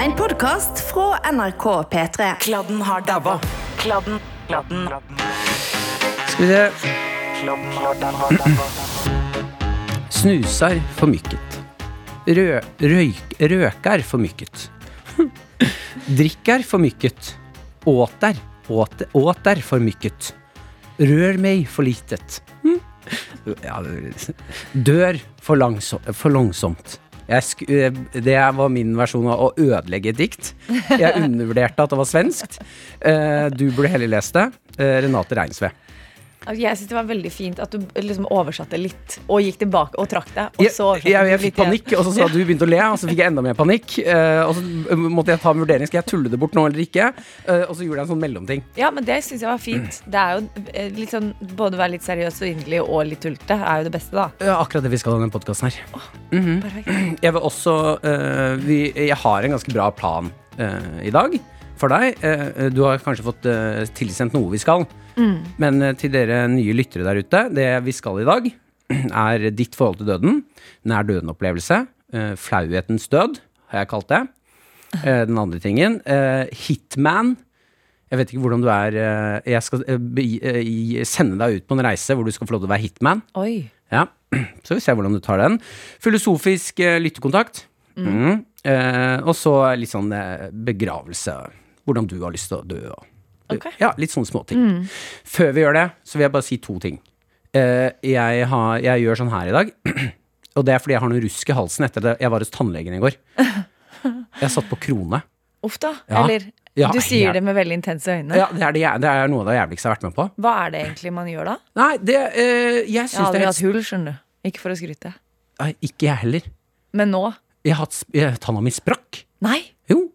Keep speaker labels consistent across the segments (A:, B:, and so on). A: En podkast fra NRK P3.
B: Kladden har dabba. Kladden, kladden, kladden,
C: Skal vi se.
B: kladden har dabba.
C: Snusar formykket. Rø røyk røkar formykket. Drikkar formykket. Åter, åter, åter formykket. Rør meg for litet. Ja, dør for, langsom, for langsomt. Jeg sk eh, det var min versjon av å ødelegge et dikt. Jeg undervurderte at det var svenskt. Eh, Du burde heller lest det. Eh, Renate Reinsve.
D: Altså, Jeg synes det var veldig fint at du liksom oversatte litt, og gikk tilbake og trakk deg. Og
C: Jeg,
D: så oversatte
C: jeg, jeg
D: du
C: fikk
D: litt igjen.
C: panikk, og så sa du begynte å le, og så fikk jeg enda mer panikk. eh, og så eh, måtte jeg ta en vurdering. Skal jeg tulle det bort nå eller ikke? Eh, og så gjorde jeg en sånn mellomting.
D: Ja, men det synes jeg var fint. Det er jo eh, litt sånn, Både å være litt seriøs og inderlig og litt tullete er jo det beste, da.
C: Ja, Eh, akkurat det vi skal i denne podkasten her. Mm.
D: Perfekt.
C: Jeg vil også eh, vi, Jeg har en ganske bra plan eh, i dag for deg. Eh, du har kanskje fått eh, tilsendt noe vi skal. Men eh, til dere nye lyttere der ute, det vi skal i dag, er ditt forhold til døden. Nær døden-opplevelse. eh, flauhetens død, har jeg kalt det. Eh, den andre tingen. eh, hitman. Jeg vet ikke hvordan du er eh, Jeg skal eh, begi- eh, gi- sende deg ut på en reise hvor du skal få lov til å være hitman.
D: Oi.
C: Ja, så vi ser hvordan du tar den. Filosofisk eh, lyttekontakt. Mm. Eh, og så litt sånn eh, begravelse. Hvordan du har lyst til å dø. Og,
D: Ok. Mm.
C: Ja, litt sånne småting. Før vi gjør det, så vil jeg bare si to ting. Eh, jeg, har, jeg gjør sånn her i dag. Og det er fordi jeg har noe rusk i halsen etter at jeg var hos tannlegen i går. Jeg satt på krone.
D: Uff da.
C: Ja.
D: Eller
C: Ja,
D: du sier
C: jeg-
D: det med veldig intense øyne.
C: Ja, det, er det, jæ- det er noe av det jævligste jeg har vært med på.
D: Hva er det egentlig man gjør da?
C: Nei, det, eh, jeg
D: Jeg har
C: syns det
D: aldri
C: er
D: hatt
C: helt
D: hull, skjønner du. Ikke for å skryte.
C: Nei, Ikke jeg heller.
D: Men nå?
C: Jeg har hatt, sp- eh, Tanna mi sprakk.
D: Nei!
C: Jo.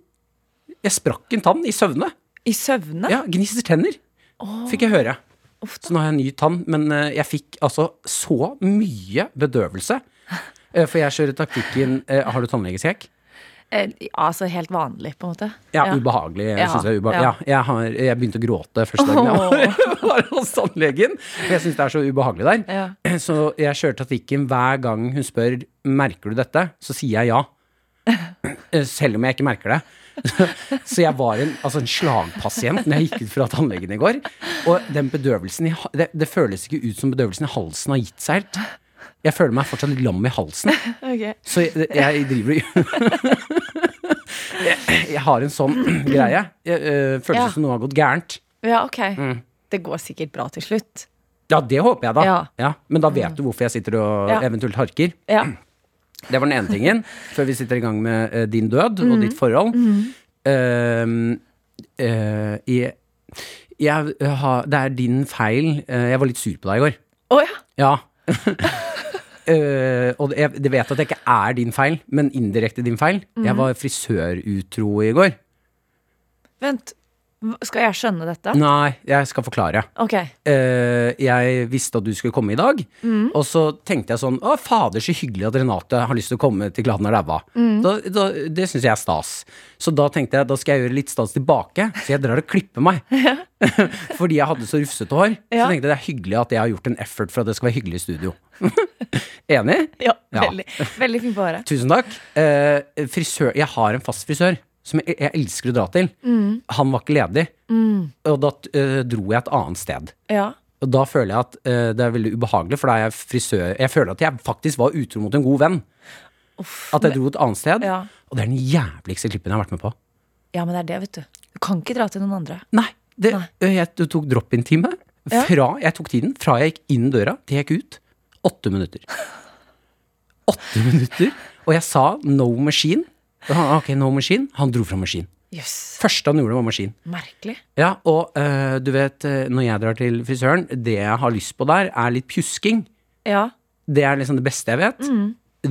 C: Jeg sprakk en tann i søvne.
D: I søvne?
C: Ja, Gnister tenner, fikk jeg høre.
D: Uff da.
C: Så nå har jeg en ny tann, men eh, jeg fikk altså så mye bedøvelse. Eh, For jeg kjører taktikken eh, Har du tannlegeskrekk?
D: Eh, altså helt vanlig, på en måte.
C: Ja, ubehagelig. Jeg
D: Ja,
C: synes det er ubehagelig.
D: ja.
C: Ja, jeg, har, jeg begynte å gråte første dagen jeg var- var hos tannlegen. for Jeg syns det er så ubehagelig der.
D: Ja.
C: Så jeg kjører taktikken hver gang hun spør Merker du dette, så sier jeg ja. Eh, Selv om jeg ikke merker det. Så jeg var en, altså en slagpasient når jeg gikk ut fra tannlegen i går. Og den bedøvelsen i, ha- det, det føles ikke ut som bedøvelsen i halsen har gitt seg helt. Jeg føler meg fortsatt litt lam i halsen.
D: Ok.
C: Så jeg, jeg driver og jeg, jeg har en sånn greie. Jeg, øh, føles
D: Ja.
C: som noe har gått gærent.
D: Ja, ok.
C: Mm.
D: Det går sikkert bra til slutt.
C: Ja, det håper jeg, da.
D: Ja.
C: men da vet du hvorfor jeg sitter og
D: Ja.
C: eventuelt harker.
D: Ja.
C: Det var den ene tingen, før vi sitter i gang med eh, din død
D: Mm.
C: og ditt forhold. Ehm, eh, jeg, jeg, har- det er din feil. Eh, jeg var litt sur på deg i går.
D: Å ja.
C: Ja. Eh, og det- jeg det vet at det ikke er din feil, men indirekte din feil.
D: Mm.
C: Jeg var frisørutro i går.
D: Vent. Hva- Skal jeg skjønne dette?
C: Nei, jeg skal forklare.
D: Ok.
C: Eh, jeg visste at du skulle komme i dag, og så tenkte jeg sånn Å, fader, så hyggelig at Renate har lyst til å komme til Gladen er daua. Da, da, det syns jeg er stas. Så da tenkte jeg da skal jeg gjøre litt stas tilbake, så jeg drar og klipper meg. Fordi jeg hadde så rufsete hår. Så
D: Ja.
C: tenkte jeg det er hyggelig at jeg har gjort en effort for at det skal være hyggelig i studio. Enig?
D: Ja,
C: Ja.
D: veldig, veldig fint på håret.
C: Tusen takk. Eh, frisør, jeg har en fast frisør som jeg, jeg elsker å dra til. Han var ikke ledig, og da eh, dro jeg et annet sted.
D: Ja.
C: Og da føler jeg at eh, det er veldig ubehagelig, for da er jeg frisør Jeg føler at jeg faktisk var utro mot en god venn. at jeg dro et annet sted.
D: Ja.
C: Og det er den jævligste klippen jeg har vært med på.
D: ja, men det er det, vet du. Du kan ikke dra til noen andre.
C: Nei, det,
D: Nei.
C: ø, Jeg, du tok drop-in-time.
D: Ja.
C: Fra Jeg tok tiden fra jeg gikk inn døra til jeg gikk ut. Åtte minutter. Åtte minutter! Og jeg sa no machine. Og Han, ok, no machine. Han dro fra maskin.
D: Jøss.
C: Første han gjorde, var maskin.
D: Merkelig.
C: Ja, og ø, du vet, ø, når jeg drar til frisøren, det jeg har lyst på der, er litt pjusking.
D: Ja.
C: Det er liksom det beste jeg vet.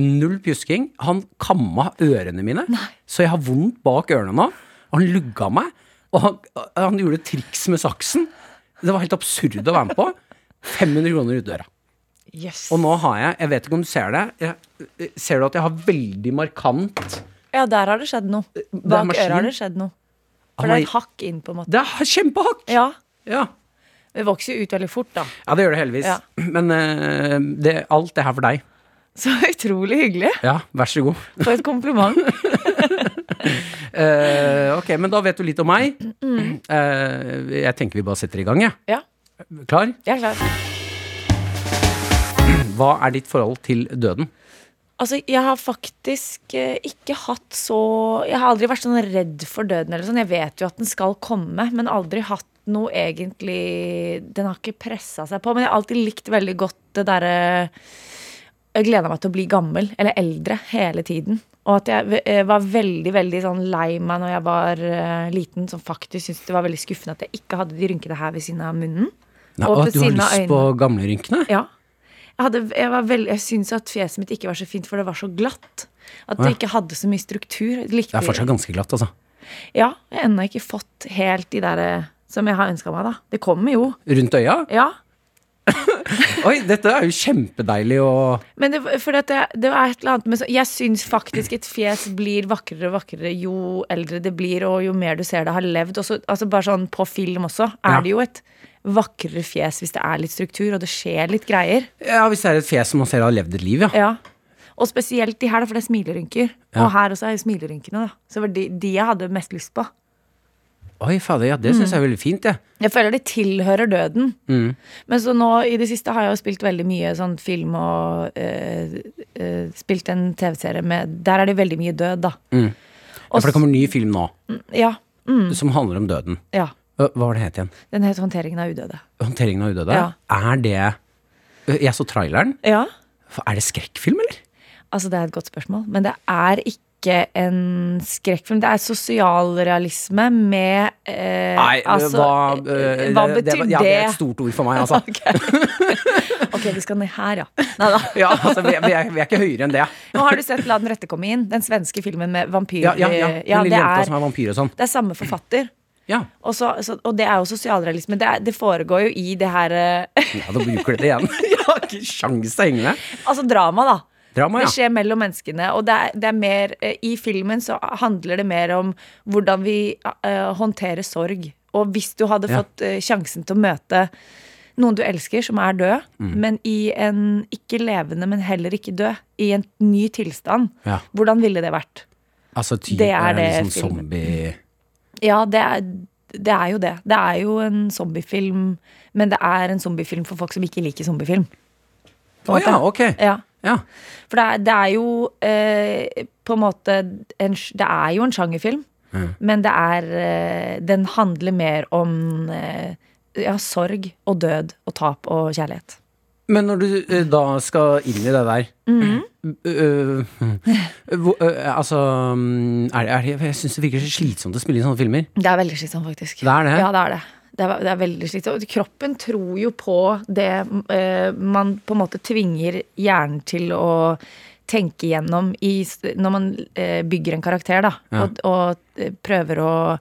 C: Null pjusking. Han kamma ørene mine, så jeg har vondt bak ørene nå. Og han lugga meg, og han, han gjorde triks med saksen. Det var helt absurd å være med på. 500 kroner ut døra.
D: Jøss.
C: Og nå har jeg, jeg vet ikke om du ser det, jeg, eh, ser du at jeg har veldig markant
D: Ja, der har det skjedd noe. Bak
C: maskin.
D: øret har det skjedd noe.
C: Han
D: For det
C: har-
D: er et hakk inn, på en måte.
C: Det er kjempehakk!
D: Ja.
C: Ja.
D: Det vokser jo ut veldig fort, da.
C: Ja, det gjør det heldigvis.
D: Ja.
C: Men eh, det, alt det her for deg.
D: Så utrolig hyggelig.
C: Ja, vær så god.
D: For et kompliment.
C: Eh, ok, men da vet du litt om meg.
D: Mm.
C: Eh, jeg tenker vi bare setter i gang, jeg.
D: Ja,
C: Klar?
D: jeg er klar.
C: Hva er ditt forhold til døden?
D: Altså, jeg har faktisk eh, ikke hatt så Jeg har aldri vært sånn redd for døden eller sånn. Jeg vet jo at den skal komme, men aldri hatt noe egentlig Den har ikke pressa seg på. Men jeg har alltid likt veldig godt det derre Jeg gleda meg til å bli gammel, eller eldre, hele tiden. Og at jeg eh, var veldig veldig sånn lei meg når jeg var eh, liten, som faktisk syntes det var veldig skuffende at jeg ikke hadde de rynkene her ved siden av munnen.
C: Nei,
D: Og
C: å,
D: ved
C: du har
D: siden av
C: lyst på gamlerynkene?
D: Ja. Jeg, hadde, jeg, var veld, jeg syntes at fjeset mitt ikke var så fint, for det var så glatt. At det
C: Åja.
D: ikke hadde så mye struktur. Jeg Likte,
C: Det er fortsatt ganske glatt, altså.
D: Ja, jeg har ennå ikke fått helt de der eh, som jeg har ønska meg, da. Det kommer jo.
C: Rundt øya?
D: Ja.
C: Oi, dette er jo kjempedeilig å
D: Men det, for at det, det var et eller annet med så, Jeg syns faktisk et fjes blir vakrere og vakrere jo eldre det blir, og jo mer du ser det har levd. Også, altså bare sånn på film også, er
C: Ja.
D: det jo et vakrere fjes hvis det er litt struktur, og det skjer litt greier.
C: Ja, hvis det er et fjes som man ser har levd et liv, ja.
D: Ja. Og spesielt de her, da, for det er smilerynker. Og her også er jo smilerynkene. da Så det var de, de jeg hadde mest lyst på.
C: Oi, fader, ja, det syns
D: Mm.
C: jeg er veldig fint, jeg.
D: Jeg føler de tilhører døden.
C: Mm.
D: Men så nå i det siste har jeg jo spilt veldig mye sånn film og eh, eh, spilt en TV-serie med Der er det veldig mye død, da.
C: Mm. Ja, for det kommer en ny film nå
D: Ja. Mm.
C: som handler om døden.
D: ja.
C: Hva hva var det het igjen?
D: Den heter 'Håndteringen av udøde'.
C: Håndteringen av udøde?
D: Ja.
C: Er det Jeg så traileren.
D: Ja.
C: Er det skrekkfilm, eller?
D: Altså, det er et godt spørsmål, men det er ikke en skrekkfilm. Det er sosialrealisme med eh, altså, eh, hva betyr det?
C: Ja, det er et stort ord for meg, altså.
D: Ok, Ok, vi skal ned her, ja. Neida.
C: Ja, altså vi, er- vi, er, vi er ikke høyere enn det.
D: Nå har du sett La den rette komme inn, den svenske filmen med vampyr... eh,
C: Ja, ja, ja. Den lille
D: det,
C: jenta som
D: er,
C: er vampyr og sånn.
D: det er samme forfatter.
C: Ja,
D: Og, så, så, og det er jo sosialrealisme. Det, er, det foregår jo i det her eh,
C: ja, da bruker du det igjen. Jeg har ikke sjans til å henge med.
D: Altså drama, da.
C: Drama,
D: Det
C: ja.
D: skjer mellom menneskene. Og det er, det er mer eh, I filmen så handler det mer om hvordan vi eh, håndterer sorg. Og hvis du hadde
C: Ja.
D: fått eh, sjansen til å møte noen du elsker, som er død,
C: Mm.
D: men i en ikke levende, men heller ikke død, i en ny tilstand,
C: Ja.
D: hvordan ville det vært?
C: Altså, ty,
D: Det er
C: er det
D: det
C: litt sånn
D: filmen.
C: zombie...
D: Ja, det er, det er jo det. Det er jo en zombiefilm, men det er en zombiefilm for folk som ikke liker zombiefilm.
C: Å ja, ok.
D: Ja.
C: Ja.
D: For det er, det er jo eh, på en måte en, sj- Det er jo en sjangerfilm, men det er eh, Den handler mer om eh, ja, sorg og død og tap og kjærlighet.
C: Men når du eh, da skal inn i det der
D: Mm-hmm.
C: øh, øh, hvor- øh, Altså mm, er, det- er, det- Jeg syns det virker så slitsomt å spille inn sånne filmer.
D: Det er veldig slitsomt, faktisk.
C: Det er det?
D: Ja, det er det. Det er, det er veldig slitsomt. Kroppen tror jo på det eh, man på en måte tvinger hjernen til å tenke gjennom i, s- når man eh, bygger en karakter, da. Og, og eh, prøver å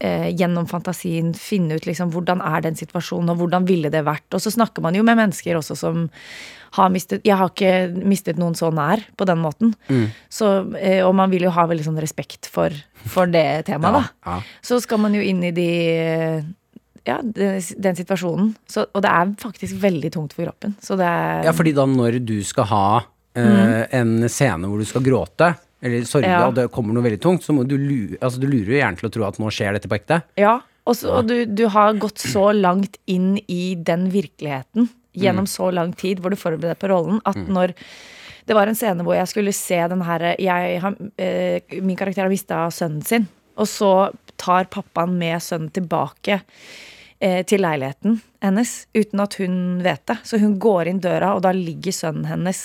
D: eh, gjennom fantasien finne ut liksom hvordan er den situasjonen, og hvordan ville det vært. Og så snakker man jo med mennesker også som har mistet Jeg har ikke mistet noen så nær på den måten.
C: Mm.
D: Så, eh, og man vil jo ha veldig sånn respekt for, for det temaet, da.
C: ja.
D: Så skal man jo inn i de eh, ja, den, den situasjonen. Så, og det er faktisk veldig tungt for kroppen. Så det er
C: Ja, fordi da når du skal ha eh, en scene hvor du skal gråte, eller sorge,
D: Mm-hmm. Ja.
C: og det kommer noe veldig tungt, så må du lure, altså, du lurer jo hjernen til å tro at nå skjer dette på ekte.
D: Ja, og, så, og du, du har gått så langt inn i den virkeligheten
C: Mm.
D: gjennom så lang tid hvor du forbereder deg på rollen, at når det var en scene hvor jeg skulle se den her jeg, har- eh, Min karakter har mista sønnen sin, og så tar pappaen med sønnen tilbake eh, til leiligheten hennes uten at hun vet det. Så hun går inn døra, og da ligger sønnen hennes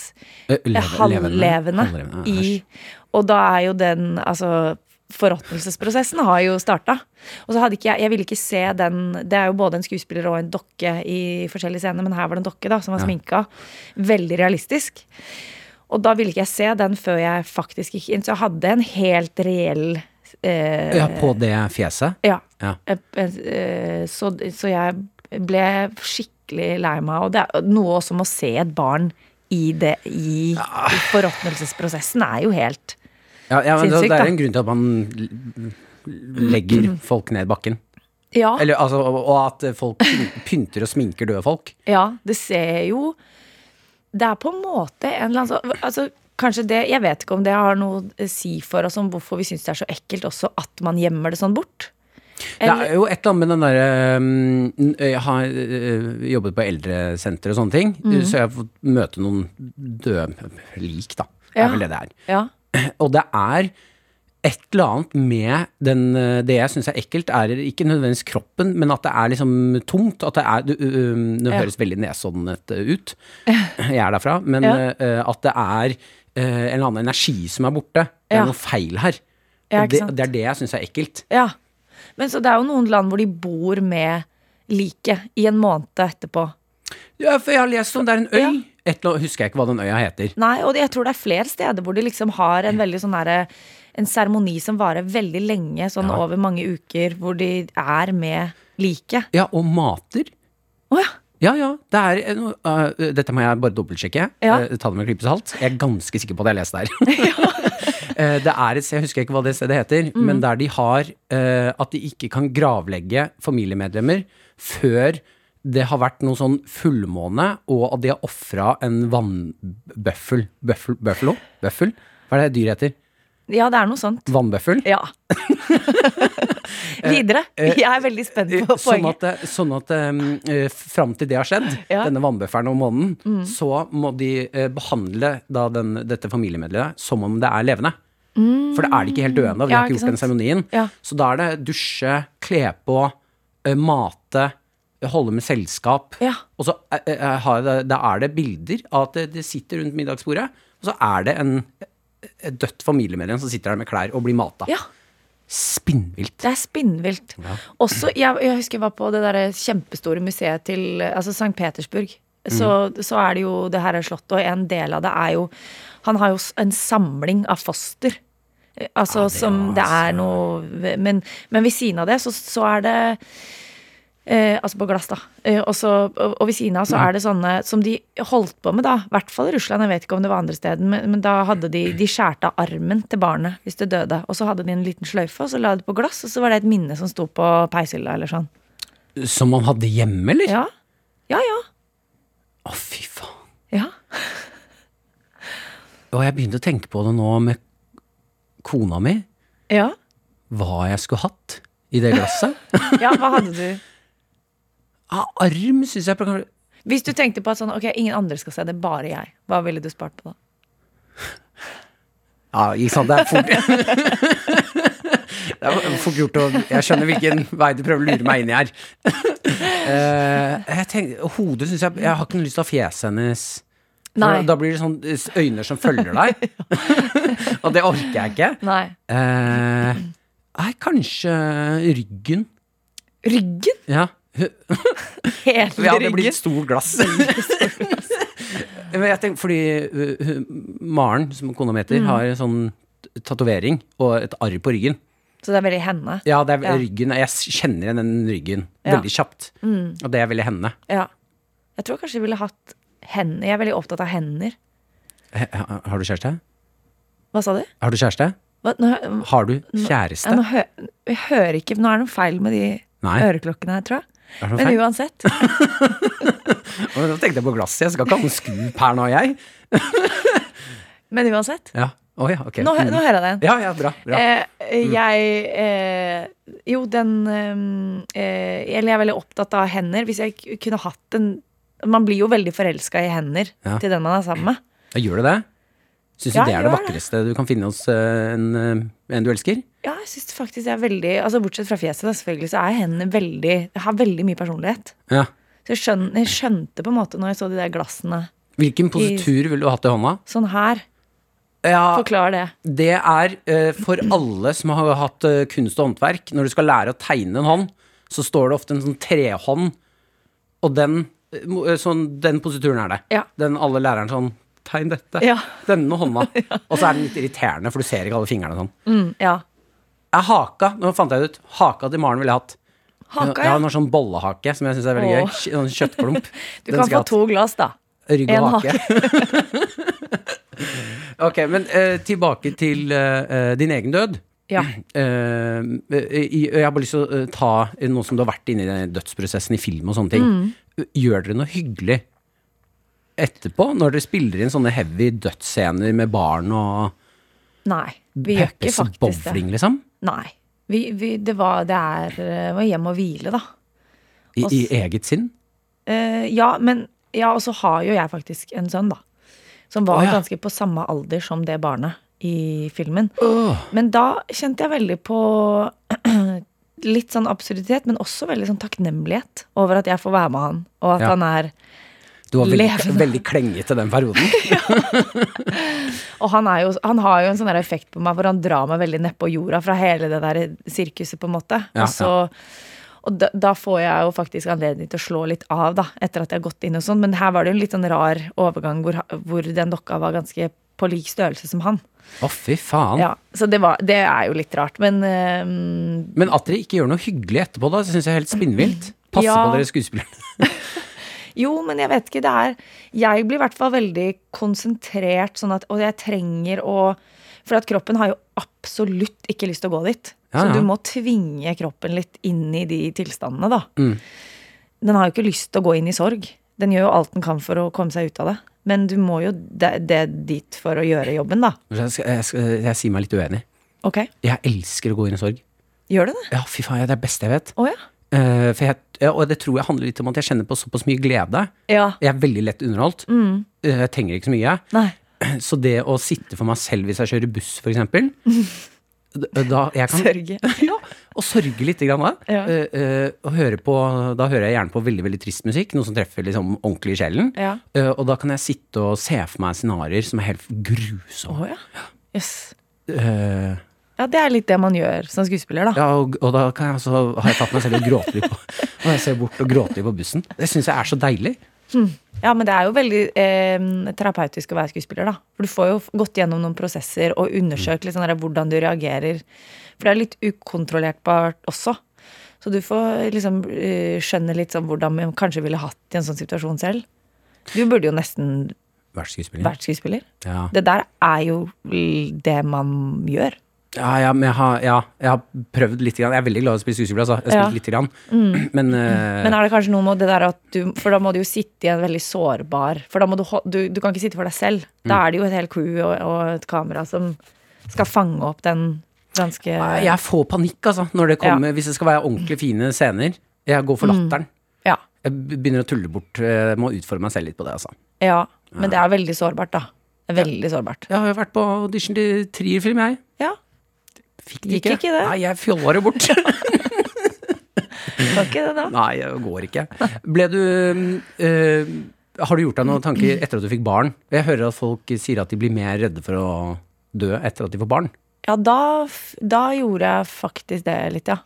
C: Eh, leve-
D: halvlevende
C: halvlevende, ja,
D: i Og da er jo den altså, Forråtnelsesprosessen har jo starta. Og så hadde ikke jeg Jeg ville ikke se den Det er jo både en skuespiller og en dokke i forskjellige scener, men her var det en dokke da som var sminka. Veldig realistisk. Og da ville ikke jeg se den før jeg faktisk gikk inn. Så jeg hadde en helt reell eh,
C: Ja, på det fjeset.
D: ja.
C: Ja.
D: Eh, eh, Så, så jeg ble skikkelig lei meg. Og det er noe også med å se et barn i det i forråtnelsesprosessen er jo helt
C: Ja, ja, men det,
D: Sinnssykt,
C: det
D: da.
C: er en grunn til at man l- l- legger folk ned bakken.
D: Ja,
C: Eller, altså, og og at folk pyn- pynter og sminker døde folk.
D: ja det ser jo Det er på en måte en eller annen sånn Altså, kanskje det, Jeg vet ikke om det har noe å si for oss om hvorfor vi syns det er så ekkelt også at man gjemmer det sånn bort.
C: Det er jo et eller annet med den derre mm, Jeg har øh, jobbet på eldresenter og sånne ting, så jeg har fått møte noen døde lik, da. Det
D: Ja.
C: er vel det det er.
D: Ja.
C: Og det er et eller annet med den, øh, det jeg syns er ekkelt, er ikke nødvendigvis kroppen, men at det er liksom tomt. At det er du- øh, Nå
D: Ja.
C: høres veldig nesodnet ut, jeg er derfra, men
D: Ja.
C: øh, at det er øh, en eller annen energi som er borte. Det er
D: Ja.
C: noe feil her.
D: Ja,
C: Og
D: ikke
C: det,
D: sant?
C: det er det jeg syns er ekkelt.
D: ja. Men så det er jo noen land hvor de bor med liket i en måned etterpå.
C: Ja, for jeg har lest om det er en øy.
D: Ja.
C: Et eller annet, husker jeg ikke hva den øya heter.
D: Nei, og jeg tror det er flere steder hvor de liksom har en veldig sånn derre En seremoni som varer veldig lenge, sånn
C: Ja.
D: over mange uker, hvor de er med liket.
C: Ja, og mater.
D: Å ja.
C: Ja, ja. Det er eh, noe, eh, dette må jeg bare dobbeltsjekke.
D: Ja.
C: Eh, ta det med en klype salt. Jeg er ganske sikker på at jeg har lest det her. Eh, det er et sted, jeg husker ikke hva det stedet heter, men der de har eh, at de ikke kan gravlegge familiemedlemmer før det har vært noe sånn fullmåne, og at de har ofra en vannbøffel. Bøffel? Bøffel? Bøffel? Hva er det dyret heter?
D: Ja, det er noe sånt.
C: Vannbøffel?
D: Ja.
C: Eh,
D: Videre. Jeg er veldig spent på
C: Sånn
D: poenget.
C: at, det- sånn at um, eh, fram til det har skjedd,
D: Ja. Mm.
C: denne vannbøfferen om måneden, så må de eh, behandle da den, dette familiemedlemmet som om det er levende. For det er det ikke helt døende. Vi
D: Mm. Ja,
C: har ikke
D: ikke
C: gjort den
D: sant?
C: seremonien.
D: Ja.
C: Så da er det dusje, kle på, eh, mate, holde med selskap.
D: Ja.
C: Og så eh, eh, har det, da er det bilder av at det, det sitter rundt middagsbordet, og så er det en eh, et dødt familiemedlem som sitter der med klær og blir mata.
D: Ja,
C: Spinnvilt.
D: det er spinnvilt. Også, jeg, jeg husker jeg var på det der kjempestore museet til eh, altså St. Petersburg. Så,
C: Mm.
D: så er det jo det her er slottet, og en del av det er jo Han har jo s- en samling av foster. Eh, Altså
C: det
D: som
C: var
D: det er
C: altså-
D: noe ve- Men, men ved siden av det, så, så er det Eh, altså på glass, da. Eh, og, så, og, og ved siden av så er det sånne som de holdt på med, da. I hvert fall i Russland, jeg vet ikke om det var andre steder. Men, men da hadde de De skjærte av armen til barnet hvis det døde. Og så hadde de en liten sløyfe, og så la de på glass, og så var det et minne som sto på peishylla eller sånn.
C: Som man hadde hjemme, eller?
D: Ja. Ja, ja.
C: Å, fy faen.
D: Ja.
C: Og jeg begynte å tenke på det nå med kona mi,
D: Ja,
C: hva jeg skulle hatt i det glasset.
D: ja hva hadde du?
C: Av Ah, arm, syns jeg. på-
D: Hvis du tenkte på at sånn, ok, ingen andre skal se det, bare jeg. Hva ville du spart på da?
C: Ja, ikke sant. Det er fort Det er fort gjort å Jeg skjønner hvilken vei du prøver å lure meg inn i her. Eh, jeg tenker, hodet syns jeg Jeg har ikke noe lyst til å ha fjeset hennes. For
D: Nei.
C: Da blir det sånn eh, øyne som følger deg. Og det orker jeg ikke.
D: Nei.
C: Eh, nei, kanskje ryggen.
D: Ryggen?
C: Ja.
D: Hele
C: Ja, det blir
D: ryggen?
C: et stort glass. Men jeg tenker, fordi uh, hun- Maren, som kona mi
D: Mm.
C: heter, har en sånn t- tatovering og et arr på ryggen.
D: Så det er veldig henne?
C: Ja, det er
D: Ja.
C: ryggen, Jeg s- kjenner igjen den ryggen
D: Ja. Mm.
C: veldig kjapt. Og det er veldig henne.
D: Ja. Jeg tror kanskje jeg ville hatt hender. Jeg er veldig opptatt av hender.
C: He- ha- Har du kjæreste?
D: Hva sa du?
C: Har du kjæreste?
D: Hva, nå, hø-
C: Har du
D: ja,
C: kjæreste?
D: nå hø, jeg hører ikke Nå er det noe feil med de
C: Nei.
D: øreklokkene her, tror
C: Er
D: jeg.
C: det noe
D: Men
C: feil?
D: uansett.
C: Å, Nå tenkte jeg på glasset. Jeg skal ikke ha noen skup her nå, jeg.
D: Men uansett.
C: Ja. Å ja, ok.
D: Nå, hø-
C: Mm.
D: nå hører jeg den.
C: Ja, ja, Mm. bra. bra.
D: Eh, jeg eh, Jo, den eh, eh, Eller jeg er veldig opptatt av hender. Hvis jeg k- kunne hatt en Man blir jo veldig forelska i hender
C: Ja.
D: til den man er sammen med.
C: Ja, Gjør du det? Syns du
D: Ja,
C: det er det
D: gjør det.
C: vakreste du kan finne hos eh, en, eh, en du elsker?
D: Ja, jeg synes faktisk jeg er veldig Altså Bortsett fra fjeset, da, selvfølgelig, så er hendene veldig Jeg har veldig mye personlighet.
C: Ja.
D: Så jeg, skjøn, jeg skjønte på en måte når jeg så de der glassene
C: Hvilken positur ville du hatt i hånda?
D: sånn her.
C: Ja,
D: Forklar det.
C: det er eh, for alle som har hatt eh, kunst og håndverk. Når du skal lære å tegne en hånd, så står det ofte en sånn trehånd, og den, eh, mo- eh, sånn, den posituren er det.
D: Ja.
C: Den alle læreren sånn Tegn dette.
D: Ja.
C: Denne hånda. Og så er den litt irriterende, for du ser ikke alle fingrene og sånn.
D: Mm, ja.
C: Jeg haka, nå fant jeg det ut, haka til Maren ville jeg hatt.
D: Haka,
C: Jeg
D: ja.
C: har en sånn bollehake som jeg syns er veldig
D: Åh.
C: gøy. Kj- Sånn kjøttklump.
D: Du
C: Den
D: kan
C: skal jeg
D: få
C: ha.
D: to glass, da.
C: Rygg
D: En
C: og hake. ok, men eh, tilbake til eh, eh, din egen død.
D: Ja.
C: Eh, i, jeg har bare lyst til å eh, ta eh, noe
D: Mm.
C: som du har vært inne i den dødsprosessen i film og sånne ting. Gjør dere noe hyggelig etterpå, når dere spiller inn sånne heavy dødsscener med barn og
D: Nei, vi gjør ikke
C: Peppes
D: faktisk det.
C: bowling, liksom?
D: Nei. Vi, vi, det var, det er, eh, var hjem og hvile, da.
C: I, I
D: Oss-
C: eget sinn?
D: Eh, ja, men Ja, og så har jo jeg faktisk en sønn, da. Som var
C: Å, ja.
D: ganske på samme alder som det barnet i filmen.
C: Åh.
D: Men da kjente jeg veldig på litt sånn absurditet, men også veldig sånn takknemlighet over at jeg får være med han, og at
C: Ja.
D: han er
C: Du var veldig,
D: Levende.
C: veldig klengete den perioden.
D: Og han, er jo, han har jo en sånn der effekt på meg hvor han drar meg veldig nedpå jorda fra hele det der sirkuset, på en måte.
C: Ja,
D: og så, og da, da får jeg jo faktisk anledning til å slå litt av, da, etter at jeg har gått inn og sånn. Men her var det jo en litt sånn rar overgang hvor, ha- hvor den dokka var ganske på lik størrelse som han.
C: Å, fy faen.
D: Ja, så det, var, det er jo litt rart. Men eh, øhm,
C: Men at dere ikke gjør noe hyggelig etterpå, da, syns jeg er helt spinnvilt. Passe
D: Ja.
C: på dere skuespillere.
D: Jo, men jeg vet ikke. Det er Jeg blir i hvert fall veldig konsentrert, sånn at Og jeg trenger å For at kroppen har jo absolutt ikke lyst til å gå dit.
C: Ja, ja.
D: Så du må tvinge kroppen litt inn i de tilstandene, da.
C: Mm.
D: Den har jo ikke lyst til å gå inn i sorg. Den gjør jo alt den kan for å komme seg ut av det. Men du må jo det, det dit for å gjøre jobben, da.
C: Jeg, skal- jeg, skal- jeg sier meg litt uenig.
D: Ok?
C: Jeg elsker å gå inn i sorg.
D: Gjør du det?
C: Ja, fy faen, ja, det er det beste jeg vet.
D: Å ja.
C: Eh, for jeg, ja, og det tror jeg handler litt om at jeg kjenner på såpass mye glede.
D: Ja. Mm.
C: Jeg er veldig lett underholdt. Eh, Jeg trenger ikke så mye.
D: Nei.
C: Så det å sitte for meg selv hvis jeg kjører buss, for eksempel d- da jeg kan,
D: Sørge.
C: ja, og sørge litt grann da.
D: Ja.
C: Eh, eh, og høre på, da hører jeg gjerne på veldig veldig trist musikk, noe som treffer liksom ordentlig i sjelen.
D: Ja.
C: Eh, og da kan jeg sitte og se for meg scenarioer som er helt grusomme.
D: Å ja. Jøss.
C: Eh,
D: Ja, det er litt det man gjør som skuespiller, da.
C: ja, og, og da kan jeg altså, har jeg tatt meg selv og gråter litt på Og jeg ser bort og gråter litt på bussen. Det syns jeg er så deilig.
D: Ja, men det er jo veldig eh, terapeutisk å være skuespiller, da. For du får jo f- gått gjennom noen prosesser og undersøkt litt sånn der, hvordan du reagerer. For det er litt ukontrollerbart også. Så du får liksom eh, skjønne litt sånn hvordan man kanskje ville hatt i en sånn situasjon selv. Du burde jo nesten
C: Vært skuespiller.
D: vært skuespiller.
C: Ja.
D: Det der er jo l- det man gjør.
C: Ja, ja, men jeg har, ja, jeg har prøvd litt. Grann. Jeg er veldig glad i å spille skuespill, altså. Jeg har
D: Ja. Mm.
C: spilt lite grann. Men, eh,
D: Men er det kanskje noe med det der at du For da må du jo sitte i en veldig sårbar For da må du ho- Du, du kan ikke sitte for deg selv.
C: Mm.
D: Da er det jo et helt crew og, og et kamera som skal fange opp den ganske
C: Nei, jeg får panikk, altså, når det kommer, hvis det skal være ordentlig fine scener. Jeg går
D: Mm.
C: for latteren.
D: ja,
C: Jeg begynner å tulle bort. eh, Jeg må utfordre meg selv litt på det, altså.
D: ja. Men det er veldig sårbart, da. Det er veldig sårbart.
C: Jeg har jo vært på audition til Trier-film, jeg.
D: Ja.
C: Fikk
D: Gikk ikke det?
C: Nei, jeg fjolla det bort.
D: Kan ikke det, da?
C: Nei, det går ikke. Ble du eh, Har du gjort deg noen tanker etter at du fikk barn? Jeg hører at folk sier at de blir mer redde for å dø etter at de får barn.
D: Ja, da, f- da gjorde jeg faktisk det litt, ja.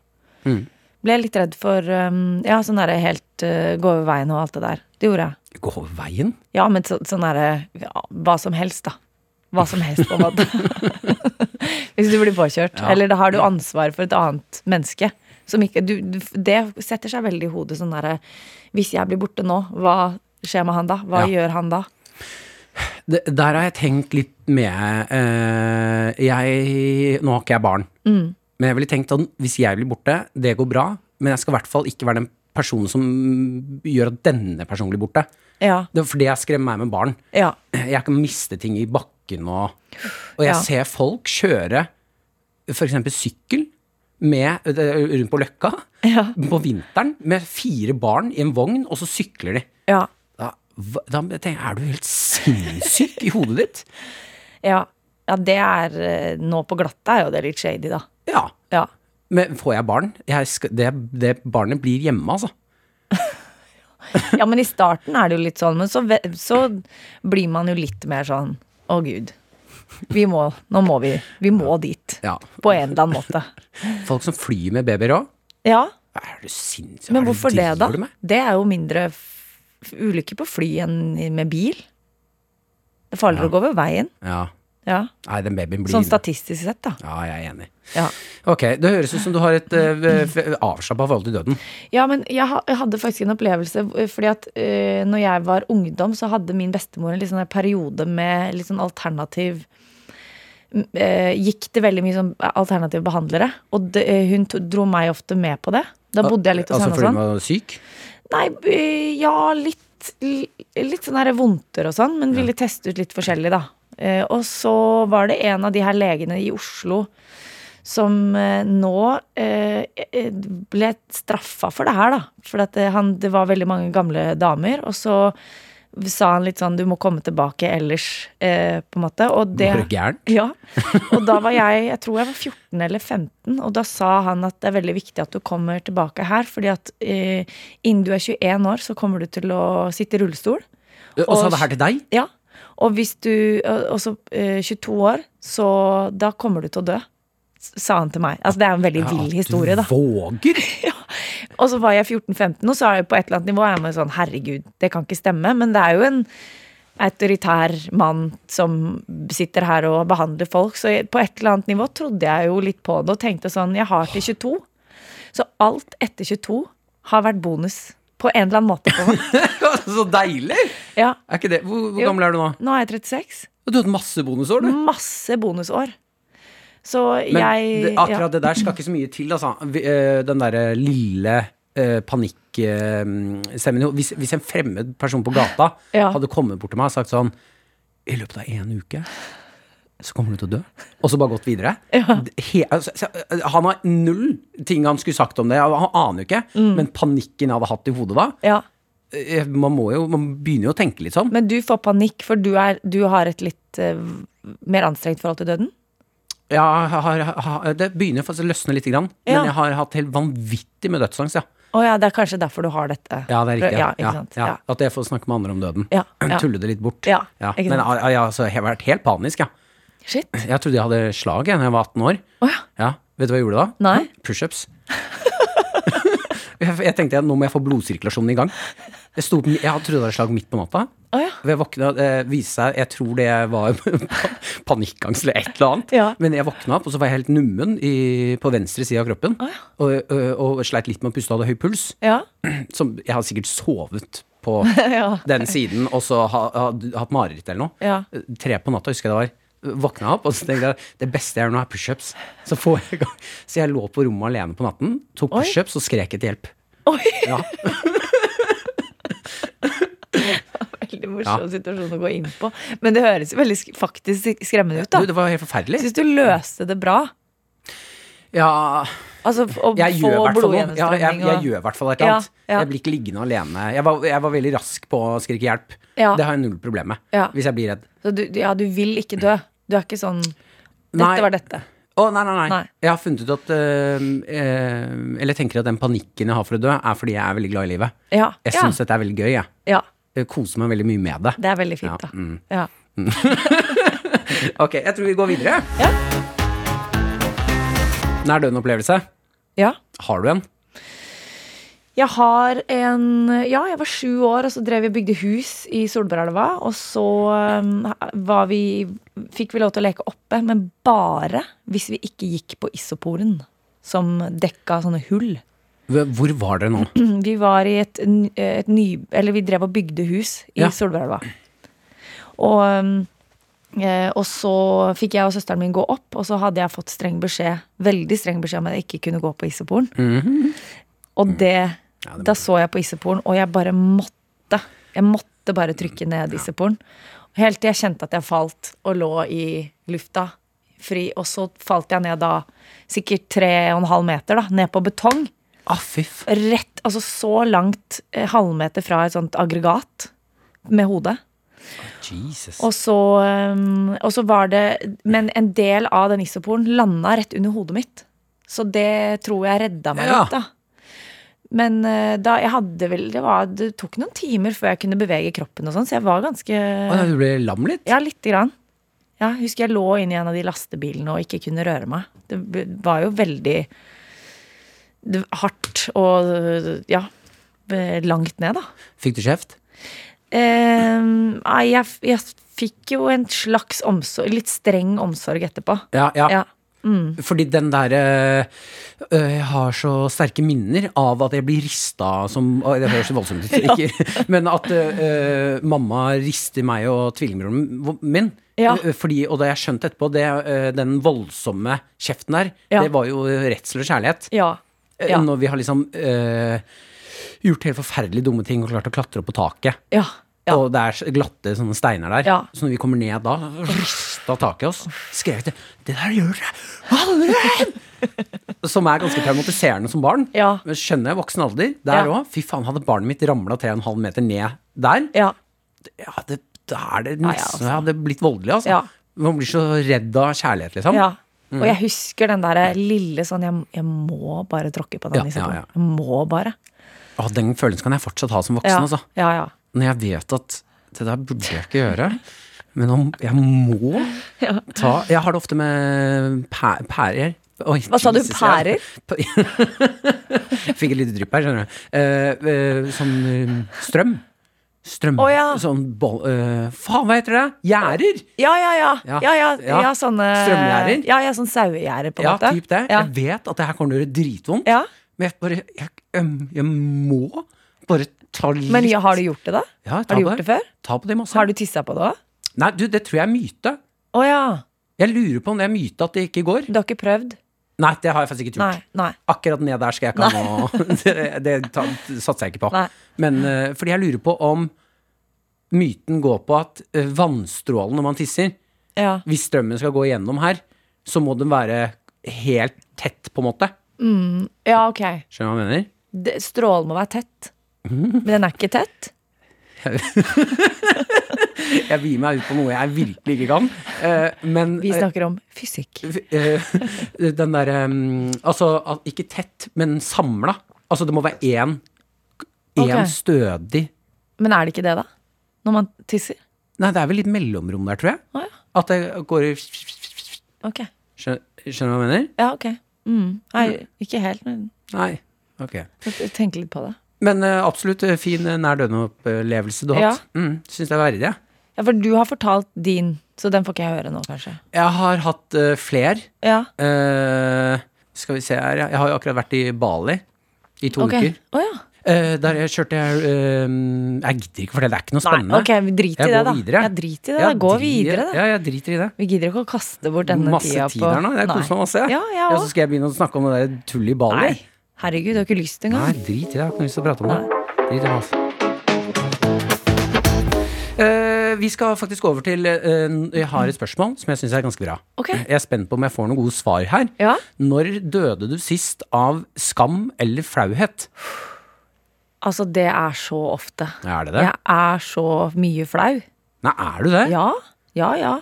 C: Mm.
D: Ble litt redd for um, Ja, sånn derre helt uh, gå over veien og alt det der. Det gjorde jeg.
C: Gå over veien?
D: Ja, men så, sånn er det ja, Hva som helst, da. Hva som helst, på en måte. Hvis du blir påkjørt. Eller da har du ansvar for et annet menneske. Som ikke, du, du, det setter seg veldig i hodet sånn derre Hvis jeg blir borte nå, hva skjer med han da? Hva
C: Ja.
D: gjør han da?
C: Det, der har jeg tenkt litt med eh, Jeg Nå har ikke jeg barn.
D: Mm.
C: Men jeg ville tenkt at hvis jeg blir borte, det går bra. Men jeg skal i hvert fall ikke være den personen som gjør at denne personen blir borte.
D: Ja.
C: Det er for det jeg skremmer meg med barn.
D: Ja.
C: Jeg kan miste ting i bakken og Og jeg
D: Ja.
C: ser folk kjøre f.eks. sykkel med, eh, rundt på Løkka
D: Ja.
C: på vinteren med fire barn i en vogn, og så sykler de.
D: Ja.
C: Da, hva- da tenker jeg, er du helt sinnssyk i hodet ditt?
D: ja. ja det er eh, Nå på glatta er jo det litt shady, da.
C: Ja.
D: Ja.
C: Men får jeg barn? Jeg skal, det, det barnet blir hjemme, altså.
D: ja, men i starten er det jo litt sånn, men så, ve- så blir man jo litt mer sånn Å, gud. Vi må, nå må vi, vi må dit.
C: Ja.
D: På en eller annen måte.
C: Folk som flyr med babyer òg.
D: Ja,
C: Er du sinnssyk? Hva
D: men
C: er
D: hvorfor
C: du
D: det, da?
C: driver med?
D: Det er jo mindre f- ulykker på fly enn i- med bil. Det er farligere å gå over veien.
C: Ja.
D: Ja.
C: Nei, den babyen blir
D: Sånn statistisk sett, da.
C: Ja, jeg er enig.
D: Ja,
C: Ok, det høres ut som du har et uh, avslappa forhold til døden.
D: ja men jeg, ha- jeg hadde faktisk en opplevelse eh, fordi at eh, når jeg var ungdom, så hadde min bestemor en litt sånn der periode med litt sånn alternativ m- eh, Gikk det veldig mye som alternative behandlere. Og det, eh, hun to, dro Ah, meg ofte med på det. Da bodde jeg litt hos
C: altså
D: henne og
C: fordi
D: sånn.
C: du var syk?
D: Nei, b- ja, litt litt, l- litt sånn her vondter og sånn, men ville teste ut litt forskjellig, da. Eh, og så var det en av de her legene i Oslo som eh, nå eh, eh, ble straffa for det her, da. For at det, han, det var veldig mange gamle damer, og så sa han litt sånn 'du må komme tilbake ellers', eh, på en måte. Og det
C: Var du gæren?
D: ja. Og da var jeg Jeg tror jeg var 14 eller 15, og da sa han at det er veldig viktig at du kommer tilbake her, fordi at eh, innen du er 21 år, så kommer du til å sitte i rullestol.
C: Og sa det her til deg?
D: Ja. Og hvis du og- Og så eh, 22 år, så da kommer du til å dø. s- Sa han til meg. Altså Det er en veldig vill historie, da.
C: At du våger!
D: Og så var jeg 14-15, og så er jeg på et eller annet nivå er jeg med sånn Herregud, det kan ikke stemme. Men det er jo en autoritær mann som sitter her og behandler folk. Så jeg, på et eller annet nivå trodde jeg jo litt på det og tenkte sånn Jeg har til 22. Så alt etter 22 har vært bonus. På en eller annen måte. For meg.
C: så deilig!
D: Ja.
C: Er ikke det? Hvor, hvor
D: Jo.
C: gammel er du nå?
D: Nå er jeg 36.
C: Du har hatt masse bonusår, du.
D: Masse bonusår. Så
C: Men
D: jeg
C: det, akkurat
D: ja.
C: det der skal ikke så mye til, altså. Vi- eh, Den derre lille eh, panikkstemmen hvis, hvis en fremmed person på gata
D: Ja.
C: hadde kommet bort til meg og sagt sånn I løpet av en uke så kommer du til å dø. Og så bare gått videre. Det- He, altså, så- han har null ting han skulle sagt om det. Han aner jo ikke.
D: Mm.
C: Men panikken jeg hadde hatt i hodet da
D: ja.
C: eh, Man, må jo, man begynner jo å tenke litt sånn.
D: Men du får panikk, for du, er, du har et litt eh, mer anstrengt forhold til døden?
C: Ja, jeg har, har, det begynner faktisk å løsne litt, grann,
D: Ja.
C: men jeg har hatt helt vanvittig med dødsangst. Ja,
D: Å ja, det er kanskje derfor du har dette.
C: ja det er riktig.
D: Ja,
C: Ja.
D: ikke sant?
C: Ja,
D: Ja,
C: ja. At jeg får snakke med andre om døden.
D: Ja, ja.
C: Tulle det litt bort.
D: Ja, ikke
C: Men
D: sant?
C: ja, ja, altså, jeg har vært helt panisk, ja.
D: Shit.
C: Jeg trodde jeg hadde slag jeg, da jeg var 18 år.
D: Å ja.
C: Ja, Vet du hva jeg gjorde da?
D: Nei.
C: Pushups. jeg, jeg tenkte at nå må jeg få blodsirkulasjonen i gang. Jeg, sto opp, jeg hadde trodd det var slag midt på natta.
D: Å ja.
C: Jeg våkna, eh, viste seg, jeg tror det var panikkangst eller et eller annet.
D: Ja.
C: Men jeg våkna opp, og så var jeg helt nummen i, på venstre side av kroppen. og, og, og sleit litt med å puste, hadde høy puls.
D: Ja.
C: Som jeg har sikkert sovet på
D: Ja.
C: den siden, og så ha, ha, hatt mareritt eller noe.
D: Ja.
C: Eh, Tre på natta, husker jeg det var. Våkna opp, og så tenkte jeg det beste jeg gjør nå, er pushups. Så, får jeg i gang. så jeg lå på rommet alene på natten, tok
D: Oi.
C: pushups og skrek etter hjelp.
D: Oi,
C: Ja.
D: veldig morsom situasjon å gå inn på. Men det høres jo veldig sk faktisk skremmende ut,
C: Du,
D: da.
C: det var helt forferdelig.
D: Syns du løste det bra?
C: Ja,
D: Altså f- å
C: jeg gjør i
D: få
C: hvert fall noe. Ja, jeg,
D: blodgjennomstrømning
C: jeg
D: og
C: gjør i hvert fall et
D: Ja,
C: eller annet.
D: ja.
C: Jeg blir ikke liggende alene. Jeg var, jeg var veldig rask på å skrike hjelp.
D: Ja.
C: Det har jeg null problem med.
D: Ja.
C: Hvis jeg blir redd.
D: Så du, ja, du vil ikke dø. Du er ikke sånn Dette
C: Nei.
D: var dette.
C: Å, nei, nei, nei,
D: Nei.
C: Jeg har funnet ut at øhm, eh, Eller tenker at den panikken jeg har for å dø, er fordi jeg er veldig glad i livet.
D: Ja.
C: Jeg
D: ja.
C: syns dette er veldig gøy, jeg.
D: ja.
C: jeg. Koser meg veldig mye med det.
D: Det er veldig fint,
C: Ja, mm.
D: da. Ja.
C: Ok, jeg tror vi går videre.
D: Ja.
C: Nær døden-opplevelse.
D: ja.
C: Har du en?
D: Jeg har en Ja, jeg var sju år, og så drev vi og bygde hus i Solbergelva. Og så um, var vi Fikk vi lov til å leke oppe, men bare hvis vi ikke gikk på isoporen. Som dekka sånne hull.
C: Hvor- Hvor var dere nå?
D: Vi var i et, n- eh, et ny... Eller vi drev og bygde hus i
C: Ja.
D: Solbergelva. Og, um, eh, og så fikk jeg og søsteren min gå opp, og så hadde jeg fått streng beskjed, veldig streng beskjed om at jeg ikke kunne gå på isoporen. Og det, Da så jeg på isoporen, og jeg bare måtte. Jeg måtte bare trykke ned isoporen. Helt til jeg kjente at jeg falt og lå i lufta fri. Og så falt jeg ned da sikkert tre og en halv meter, da, ned på betong
C: Ah, fy f...
D: rett, altså så langt eh, halvmeter fra et sånt aggregat med hodet.
C: Jesus.
D: Og så, um, og så var det Men en del av den isoporen landa rett under hodet mitt. Så det tror jeg redda meg
C: Ja.
D: litt, da. Men eh, da jeg hadde vel det, var, det tok noen timer før jeg kunne bevege kroppen og sånn, så jeg var ganske
C: Å, nei, du ble lam litt?
D: Ja, lite grann. Ja, jeg husker jeg lå inni en av de lastebilene og ikke kunne røre meg. Det b- var jo veldig det- hardt og ja, b- langt ned, da.
C: Fikk du kjeft?
D: Eh, Nei, jeg, f- jeg fikk jo en slags omsorg, litt streng omsorg etterpå.
C: Ja, ja.
D: Ja. Mm.
C: Fordi den derre Jeg har så sterke minner av at jeg blir rista som øh, Det høres så voldsomt ut, ikke? Men at øh, øh, mamma rister meg og tvillingbroren min.
D: Ja.
C: Øh, Fordi, og da jeg skjønte etterpå, det, øh, den voldsomme kjeften der,
D: Ja.
C: det var jo redsel og kjærlighet.
D: Ja.
C: Eh,
D: Ja.
C: Når vi har liksom øh, gjort helt forferdelig dumme ting og klart å klatre opp på taket.
D: Ja. ja.
C: Og det er så glatte sånne steiner der.
D: Ja.
C: Så når vi kommer ned da, rista taket i oss. Skrevet det. Det der gjør dere aldri! Som er ganske traumatiserende som barn.
D: Ja.
C: Men skjønner jeg voksen alder. Der
D: Ja.
C: òg. Fy faen, hadde barnet mitt ramla 3,5 meter ned der,
D: ja.
C: ja, det, da er det
D: ja,
C: nesten
D: altså.
C: Jeg hadde blitt voldelig, altså.
D: Ja.
C: Man blir så redd av kjærlighet, liksom.
D: ja. Og jeg husker den derre lille sånn jeg, jeg må bare tråkke på den.
C: Ja,
D: liksom.
C: ja, ja.
D: Jeg må bare.
C: Å, den følelsen kan jeg fortsatt ha som voksen,
D: Ja,
C: altså.
D: ja, ja.
C: Når jeg vet at det der burde jeg ikke gjøre. Men om jeg må ta Jeg har det ofte med pæ pærer. Oi,
D: Hva sa du,
C: Jesus, jeg- Fikk et lite drypp her, skjønner du. Eh, eh, sånn eh, strøm. Strøm.
D: Å, ja.
C: Sånn boll... eh, faen, hva heter det? Gjerder!
D: Ja, ja, ja.
C: Ja,
D: ja, ja,
C: ja.
D: ja. sånne
C: Strømgjerder?
D: Ja, ja, sånn sauegjerder, på en
C: Ja,
D: måte.
C: typ det.
D: Ja.
C: Jeg vet at det her kommer til å gjøre dritvondt.
D: Ja.
C: Men jeg bare jeg, øhm, jeg må bare ta litt
D: Men ja, har du gjort det, da?
C: Ja, ta
D: har du gjort det før?
C: Ta på det masse.
D: Har du tissa på det òg?
C: Nei, du, det tror jeg er myte.
D: Å ja.
C: Jeg lurer på om det er myte at det ikke går.
D: Du har ikke prøvd?
C: Nei, det har jeg faktisk ikke
D: Nei.
C: gjort.
D: nei
C: Akkurat ned der skal jeg ikke ha noe Det, det ta, satser jeg ikke på.
D: Nei.
C: Men eh, fordi jeg lurer på om myten går på at eh, vannstrålen når man tisser
D: Ja.
C: Hvis strømmen skal gå igjennom her, så må den være helt tett, på en måte.
D: ja, ok.
C: Skjønner du hva jeg mener?
D: Det- Strålen må være tett. Men den er ikke tett?
C: Jeg begir meg ut på noe jeg virkelig ikke kan. Eh, men
D: Vi snakker om fysikk.
C: eh, den derre Altså, at- ikke tett, men samla. Altså, det må være én én
D: Ok.
C: stødig
D: Men er det ikke det, da? Når man tisser?
C: Nei, det er vel litt mellomrom der, tror jeg.
D: Å ja.
C: At det går i
D: Ok.
C: Skjønner skjønner du hva jeg mener?
D: Ja, ok. Mm. Nei, ikke helt, men
C: Nei. Ok.
D: tenk litt på det.
C: Men eh, absolutt eh, fin eh, nær døden-opplevelse du har
D: Ja.
C: hatt. Mm, Syns det er verdig, jeg.
D: Ja, For du har fortalt din, så den får ikke jeg høre nå, kanskje.
C: Jeg har hatt uh, fler.
D: Ja,
C: Eh, skal vi se her, ja. Jeg har jo akkurat vært i Bali i to
D: ok.
C: uker.
D: Å ja.
C: Eh, der jeg kjørte jeg eh, Jeg gidder ikke fortelle, det er ikke noe spennende.
D: Nei, ok, vi
C: Jeg
D: driter i det,
C: går
D: da.
C: videre.
D: Ja, drit i det, da.
C: Jeg
D: Gå
C: dri-
D: videre, da.
C: Ja, jeg driter i det.
D: Vi gidder ikke å kaste bort denne
C: Masse
D: tida
C: tid
D: på
C: her nå. Jeg
D: Nei.
C: koser meg masse.
D: Ja, jeg
C: og
D: også.
C: så skal jeg begynne å snakke om det der tullet i Bali.
D: Nei. Herregud, du har ikke lyst engang.
C: Nei, drit i det. Jeg har ikke lyst til å prate om det. Drit i det, altså. Eh, vi skal faktisk over til eh, Jeg har et spørsmål som jeg syns er ganske bra.
D: Ok.
C: Jeg er spent på om jeg får noen gode svar her.
D: Ja.
C: Når døde du sist av skam eller flauhet?
D: Altså, det er så ofte.
C: Er det det?
D: Jeg er så mye flau.
C: Nei, er du det?
D: Ja. Ja, ja.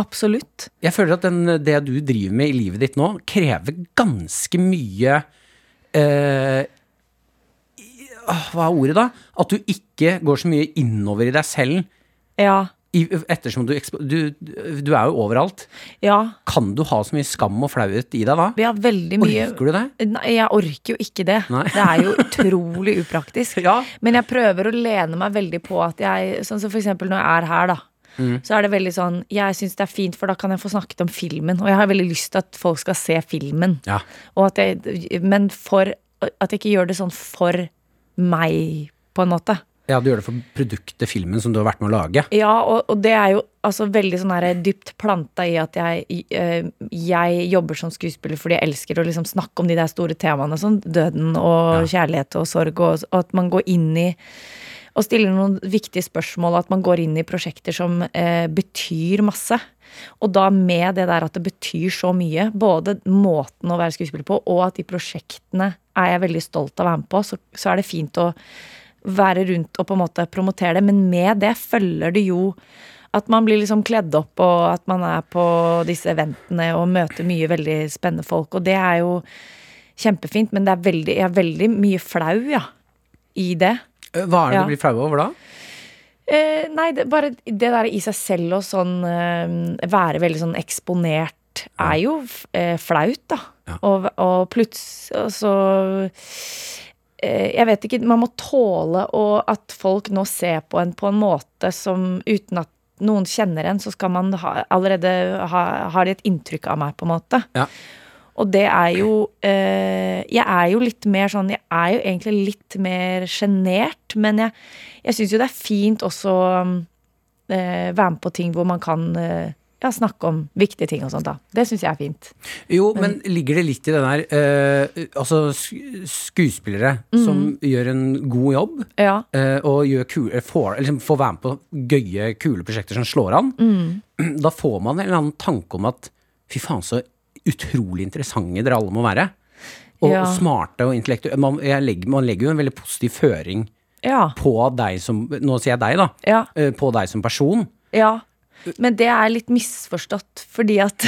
D: Absolutt.
C: Jeg føler at den, det du driver med i livet ditt nå, krever ganske mye eh, i- åh, Hva er ordet, da? At du ikke går så mye innover i deg selv.
D: Ja.
C: I, ettersom du, ekspo- du, du er jo overalt.
D: Ja.
C: Kan du ha så mye skam og flauhet i deg da?
D: Vi har veldig mye
C: Orker du det?
D: Nei, jeg orker jo ikke det.
C: Nei.
D: Det er jo utrolig upraktisk.
C: Ja.
D: Men jeg prøver å lene meg veldig på at jeg Sånn som for eksempel når jeg er her, da.
C: Mm.
D: Så er det veldig sånn Jeg syns det er fint, for da kan jeg få snakket om filmen. Og jeg har veldig lyst til at folk skal se filmen.
C: Ja.
D: Og at jeg, men for at jeg ikke gjør det sånn for meg, på en måte.
C: ja, du gjør det for produktet filmen som du har vært med å lage.
D: Ja, og, og det er jo altså, veldig sånn her, dypt planta i at jeg, i- eh, jeg jobber som skuespiller fordi jeg elsker å liksom snakke om de der store temaene, sånn døden og kjærlighet og sorg, og, og at man går inn i og stiller noen viktige spørsmål, og at man går inn i prosjekter som eh, betyr masse. Og da med det der at det betyr så mye, både måten å være skuespiller på, og at de prosjektene er jeg veldig stolt av å være med på, så, så er det fint å være rundt og på en måte promotere det. Men med det følger det jo at man blir liksom kledd opp, og at man er på disse eventene og møter mye veldig spennende folk. Og det er jo kjempefint, men det er veldig, jeg er veldig mye flau, ja, i det.
C: Eh, Hva er det
D: Ja.
C: du blir flau over da?
D: Eh, nei, det, bare det der i seg selv og sånn eh, Være veldig sånn eksponert er jo f- eh, flaut, da.
C: Ja.
D: Og, og plutselig og så eh, Jeg vet ikke, man må tåle å, at folk nå ser på en på en måte som uten at noen kjenner en, så skal man ha, allerede ha, har de et inntrykk av meg, på en måte.
C: Ja.
D: Og det er jo eh, Jeg er jo litt mer sånn Jeg er jo egentlig litt mer sjenert, men jeg, jeg syns jo det er fint også um, eh, være med på ting hvor man kan eh, ja, snakke om viktige ting og sånt. da. Det syns jeg er fint.
C: Jo, men ligger det litt i den her eh, Altså, sk- skuespillere som gjør en god jobb,
D: Ja.
C: eh, og gjør kule, får, liksom, får være med på gøye, kule prosjekter som slår an,
D: Mm.
C: da får man en eller annen tanke om at fy faen, så utrolig interessante dere alle må være. Og
D: Ja.
C: smarte og intellektuelle. Man, jeg legger, man legger jo en veldig positiv føring
D: Ja.
C: på deg som Nå sier jeg deg, da.
D: Ja.
C: eh, På deg som person.
D: Ja, men det er litt misforstått, fordi at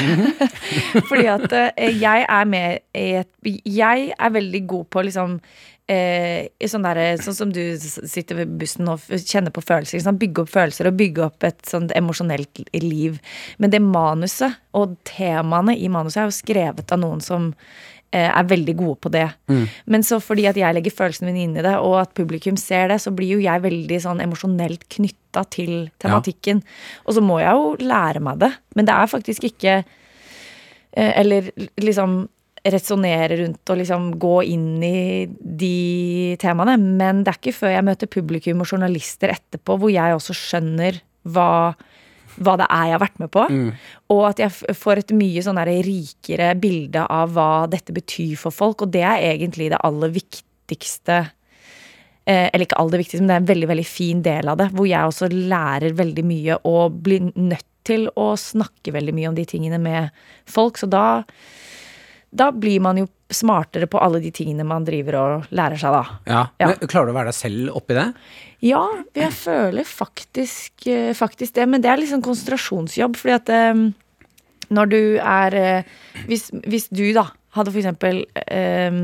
D: Fordi at eh, jeg er med i et Jeg er veldig god på liksom Eh, i sånn, derre- sånn som du s- sitter ved bussen og f- kjenner på følelser. Liksom, bygge opp følelser og bygge opp et sånt emosjonelt l- liv. Men det manuset og temaene i manuset er jo skrevet av noen som eh, er veldig gode på det. Men så fordi at jeg legger følelsene mine inn i det, og at publikum ser det, så blir jo jeg veldig sånn emosjonelt knytta til tematikken. Og så må jeg jo lære meg det. Men det er faktisk ikke Eh, Eller liksom resonnere rundt og liksom gå inn i de temaene. Men det er ikke før jeg møter publikum og journalister etterpå, hvor jeg også skjønner hva hva det er jeg har vært med på. Og at jeg f- får et mye sånn der rikere bilde av hva dette betyr for folk. Og det er egentlig det aller viktigste eh, Eller ikke aller viktigste, men det er en veldig veldig fin del av det. Hvor jeg også lærer veldig mye og blir nødt til å snakke veldig mye om de tingene med folk. Så da, da blir man jo smartere på alle de tingene man driver og lærer seg, da.
C: Ja.
D: Ja.
C: Men, klarer du å være deg selv oppi det?
D: Ja, jeg føler faktisk, eh, faktisk det. Men det er litt sånn konsentrasjonsjobb, fordi at eh, når du er eh, hvis, hvis du, da, hadde for eksempel eh,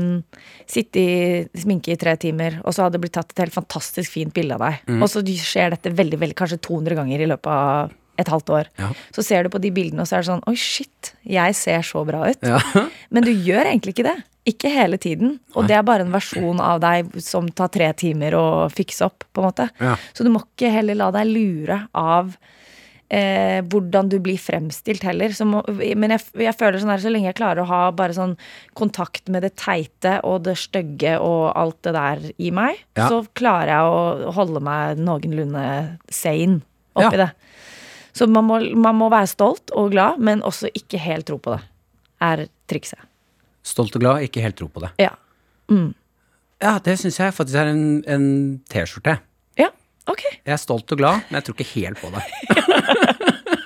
D: sittet i sminke i tre timer, og så hadde det blitt tatt et helt fantastisk fint bilde av
C: Mm.
D: deg, og så skjer dette veldig, veldig, kanskje 200 ganger i løpet av et halvt år.
C: Ja.
D: Så ser du på de bildene, og så er det sånn Oi, shit, jeg ser så bra ut.
C: Ja.
D: Men du gjør egentlig ikke det. Ikke hele tiden. Og det er bare en versjon av deg som tar tre timer å fikse opp. på en måte.
C: Ja.
D: Så du må ikke heller la deg lure av eh, hvordan du blir fremstilt heller. Så må, men jeg, jeg føler sånn her, så lenge jeg klarer å ha bare sånn kontakt med det teite og det stygge og alt det der i meg,
C: Ja.
D: så klarer jeg å holde meg noenlunde sane oppi
C: Ja.
D: det. Så man må, man må være stolt og glad, men også ikke helt tro på det, er trikset.
C: Stolt og glad, ikke helt tro på det.
D: Ja.
C: Ja, det syns jeg faktisk er en, en T-skjorte.
D: ja. Ok.
C: Jeg er stolt og glad, men jeg tror ikke helt på det.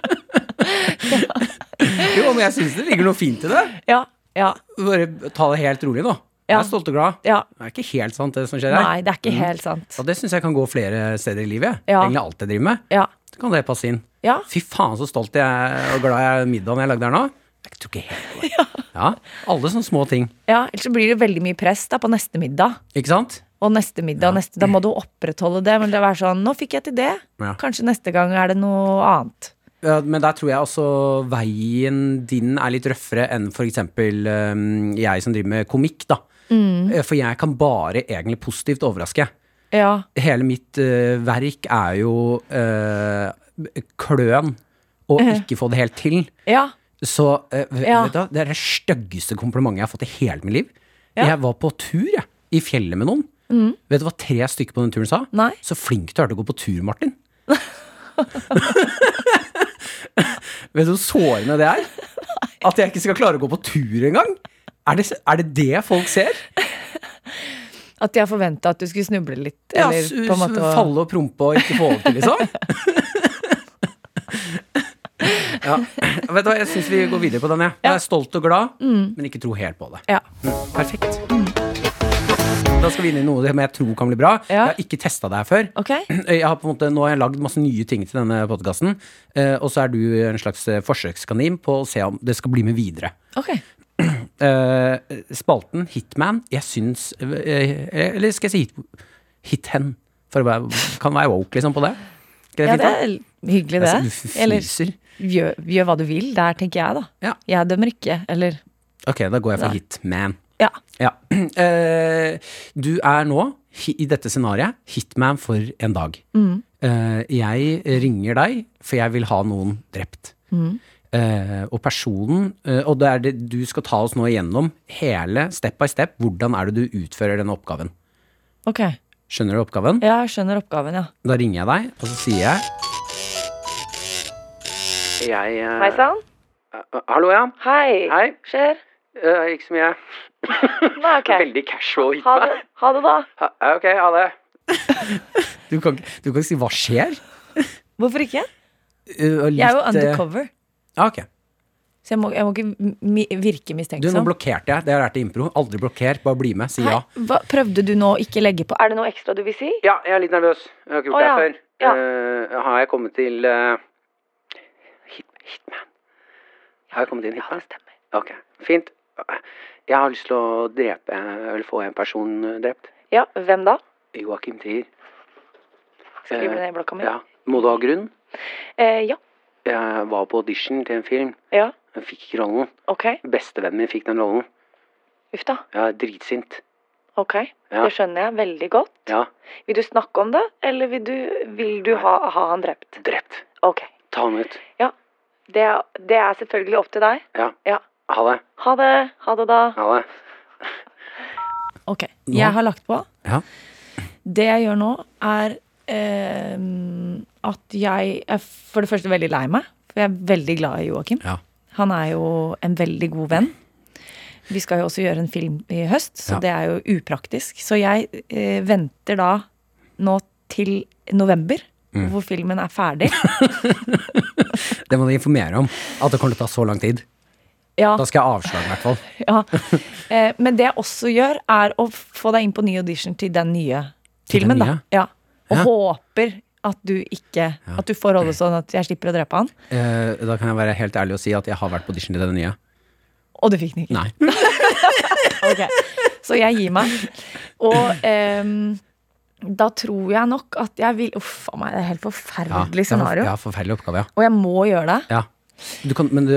C: jo, men jeg syns det ligger noe fint i det.
D: Ja. Ja.
C: Bare ta det helt rolig nå. Jeg
D: Ja.
C: er stolt og glad.
D: ja.
C: Det er ikke helt sant, det som skjer her.
D: Nei, det er ikke helt sant.
C: Og det syns jeg kan gå flere steder i livet.
D: Ja.
C: Egentlig alt jeg driver med.
D: Ja.
C: Så kan det passe inn.
D: Ja.
C: Fy faen, så stolt jeg er og glad jeg er i middagen jeg lagde her nå. Jeg tror ikke helt på det. Ja. Alle sånne små ting.
D: ja. Ellers så blir det veldig mye press da på neste middag.
C: Ikke sant?
D: Og neste middag, og neste, da må du opprettholde det. Men det er sånn, nå fikk jeg til det.
C: Ja.
D: Kanskje neste gang er det noe annet.
C: Ja, Men der tror jeg også veien din er litt røffere enn for eksempel øhm, jeg som driver med komikk, da. Eh, For jeg kan bare egentlig positivt overraske.
D: Ja.
C: Hele mitt eh, verk er jo eh, kløn og ikke få det helt til.
D: Ja.
C: Så eh, v-
D: Ja.
C: vet du, hva? det er det styggeste komplimentet jeg har fått i hele mitt liv.
D: Ja. Mm.
C: Jeg var på tur, jeg, i fjellet med noen. Vet du hva tre stykker på den turen sa?
D: Nei.
C: Så flink du er til å gå på tur, Martin. Vet du hvor sårende det er? At jeg ikke skal klare å gå på tur engang? Er det, er det det folk ser?
D: At de har forventa at du skulle snuble litt. Eller
C: ja,
D: på en måte å-
C: falle og prompe og ikke få det til, liksom? ja. Vet du hva, jeg syns vi går videre på den, jeg. Jeg er stolt og glad, men ikke tro helt på det. Mm,
D: Ja.
C: Perfekt. Da skal vi inn i noe som jeg tror kan bli bra.
D: Ja.
C: Jeg har ikke testa det her før.
D: Ok.
C: Jeg har på en måte, nå har jeg lagd masse nye ting til denne podkasten, og så er du en slags eh, forsøkskanin på å se om det skal bli med videre.
D: Ok.
C: Eh, spalten Hitman, jeg syns eh, Eller skal jeg si hit, Hithen? For å være, kan være woke, liksom, på det. Skal
D: Ja,
C: jeg
D: det
C: finne
D: er hyggelig,
C: Jeg
D: det.
C: ser-
D: Eller
C: fnyser.
D: gjør, gjør hva du vil der, tenker jeg, da.
C: Ja.
D: Jeg dømmer ikke, eller
C: på? Ok, da går jeg for
D: Nei.
C: Hitman.
D: Ja.
C: Ja. Eh, du er nå, hi- i dette scenarioet, hitman for en dag.
D: Mm.
C: Eh, jeg ringer deg, for jeg vil ha noen drept.
D: Mm.
C: Eh, og personen eh, Og det er det, du skal ta oss nå igjennom hele step by step. Hvordan er det du utfører denne oppgaven?
D: Ok.
C: Skjønner du oppgaven?
D: Ja, jeg skjønner oppgaven, ja.
C: Da ringer jeg deg, og så sier jeg Jeg eh,
D: Hei sann.
C: eh, Hallo, ja.
D: Hei.
C: Hei.
D: Skjer?
C: Eh, ikke så mye.
D: Nei, ok.
C: Veldig casual hit
D: Ha
C: meg.
D: det, ha det da.
C: Ha, ja, ok, ha det. Du kan, ikke- du kan ikke si 'hva skjer'?
D: Hvorfor ikke?
C: Uh, og litt,
D: Jeg er jo
C: eh,
D: undercover,
C: ja, ok.
D: så jeg må, jeg må ikke mi virke
C: Du, nå
D: mistenksom.
C: blokkerte jeg. Det har jeg lært i impro. Aldri blokker, bare bli med. Si
D: Hei,
C: ja.
D: hva, prøvde du nå å ikke legge på? Er det noe ekstra du vil si?
C: Ja, jeg er litt nervøs. Jeg har ikke
D: gjort Å, det ja.
C: Eh, har jeg kommet til eh, Hitman? Har jeg kommet til Hitman?
D: stemmer.
C: Ok, fint. Jeg har lyst til å drepe, eller få en person drept.
D: Ja, hvem da?
C: Joakim Trier.
D: Skriv det ned i blokka mi.
C: Eh, Ja. Må du ha grunn?
D: Eh, ja.
C: Jeg var på audition til en film.
D: Ja.
C: Jeg fikk ikke rollen.
D: Ok.
C: Bestevennen min fikk den rollen.
D: Uff da.
C: Jeg er dritsint.
D: Ok.
C: Ja.
D: Det skjønner jeg veldig godt.
C: Ja.
D: Vil du snakke om det, eller vil du, vil du ha, ha han drept?
C: Drept.
D: Ok.
C: Ta han ut.
D: Det, er- det er selvfølgelig opp til deg.
C: Ja.
D: Ja.
C: Ha det.
D: Ha det. Ha det, da.
C: Ha det.
D: Ok,
C: Nå-
D: jeg har lagt på.
C: Ja.
D: Det jeg gjør nå, er eh, at jeg er for det første veldig lei meg. For jeg er veldig glad i Joakim.
C: Ja.
D: Han er jo en veldig god venn. Vi skal jo også gjøre en film i høst, så
C: Ja.
D: det er jo upraktisk. Så jeg eh, venter da nå til november,
C: Mm.
D: hvor filmen er ferdig.
C: Det må du informere om. At det kommer til å ta så lang tid.
D: Ja,
C: Da skal jeg ha avslag, i hvert fall.
D: ja. Eh, men det jeg også gjør, er å få deg inn på ny audition til den nye
C: Til den
D: filmen, da.
C: nye?
D: Ja. Og
C: Ja.
D: håper at du ikke At du får holde sånn at jeg slipper å drepe han.
C: Eh, da kan jeg være helt ærlig og si at jeg har vært på audition til den nye.
D: Og du fikk den ikke.
C: Nei.
D: Ok, Så jeg gir meg. Og ehm, da tror jeg nok at jeg vil Uff a meg, det er et helt
C: det
D: forferdelig
C: er for-
D: scenario.
C: Ja, forferdelig oppgave, ja.
D: Og jeg må gjøre det.
C: ja. Du kan, men det,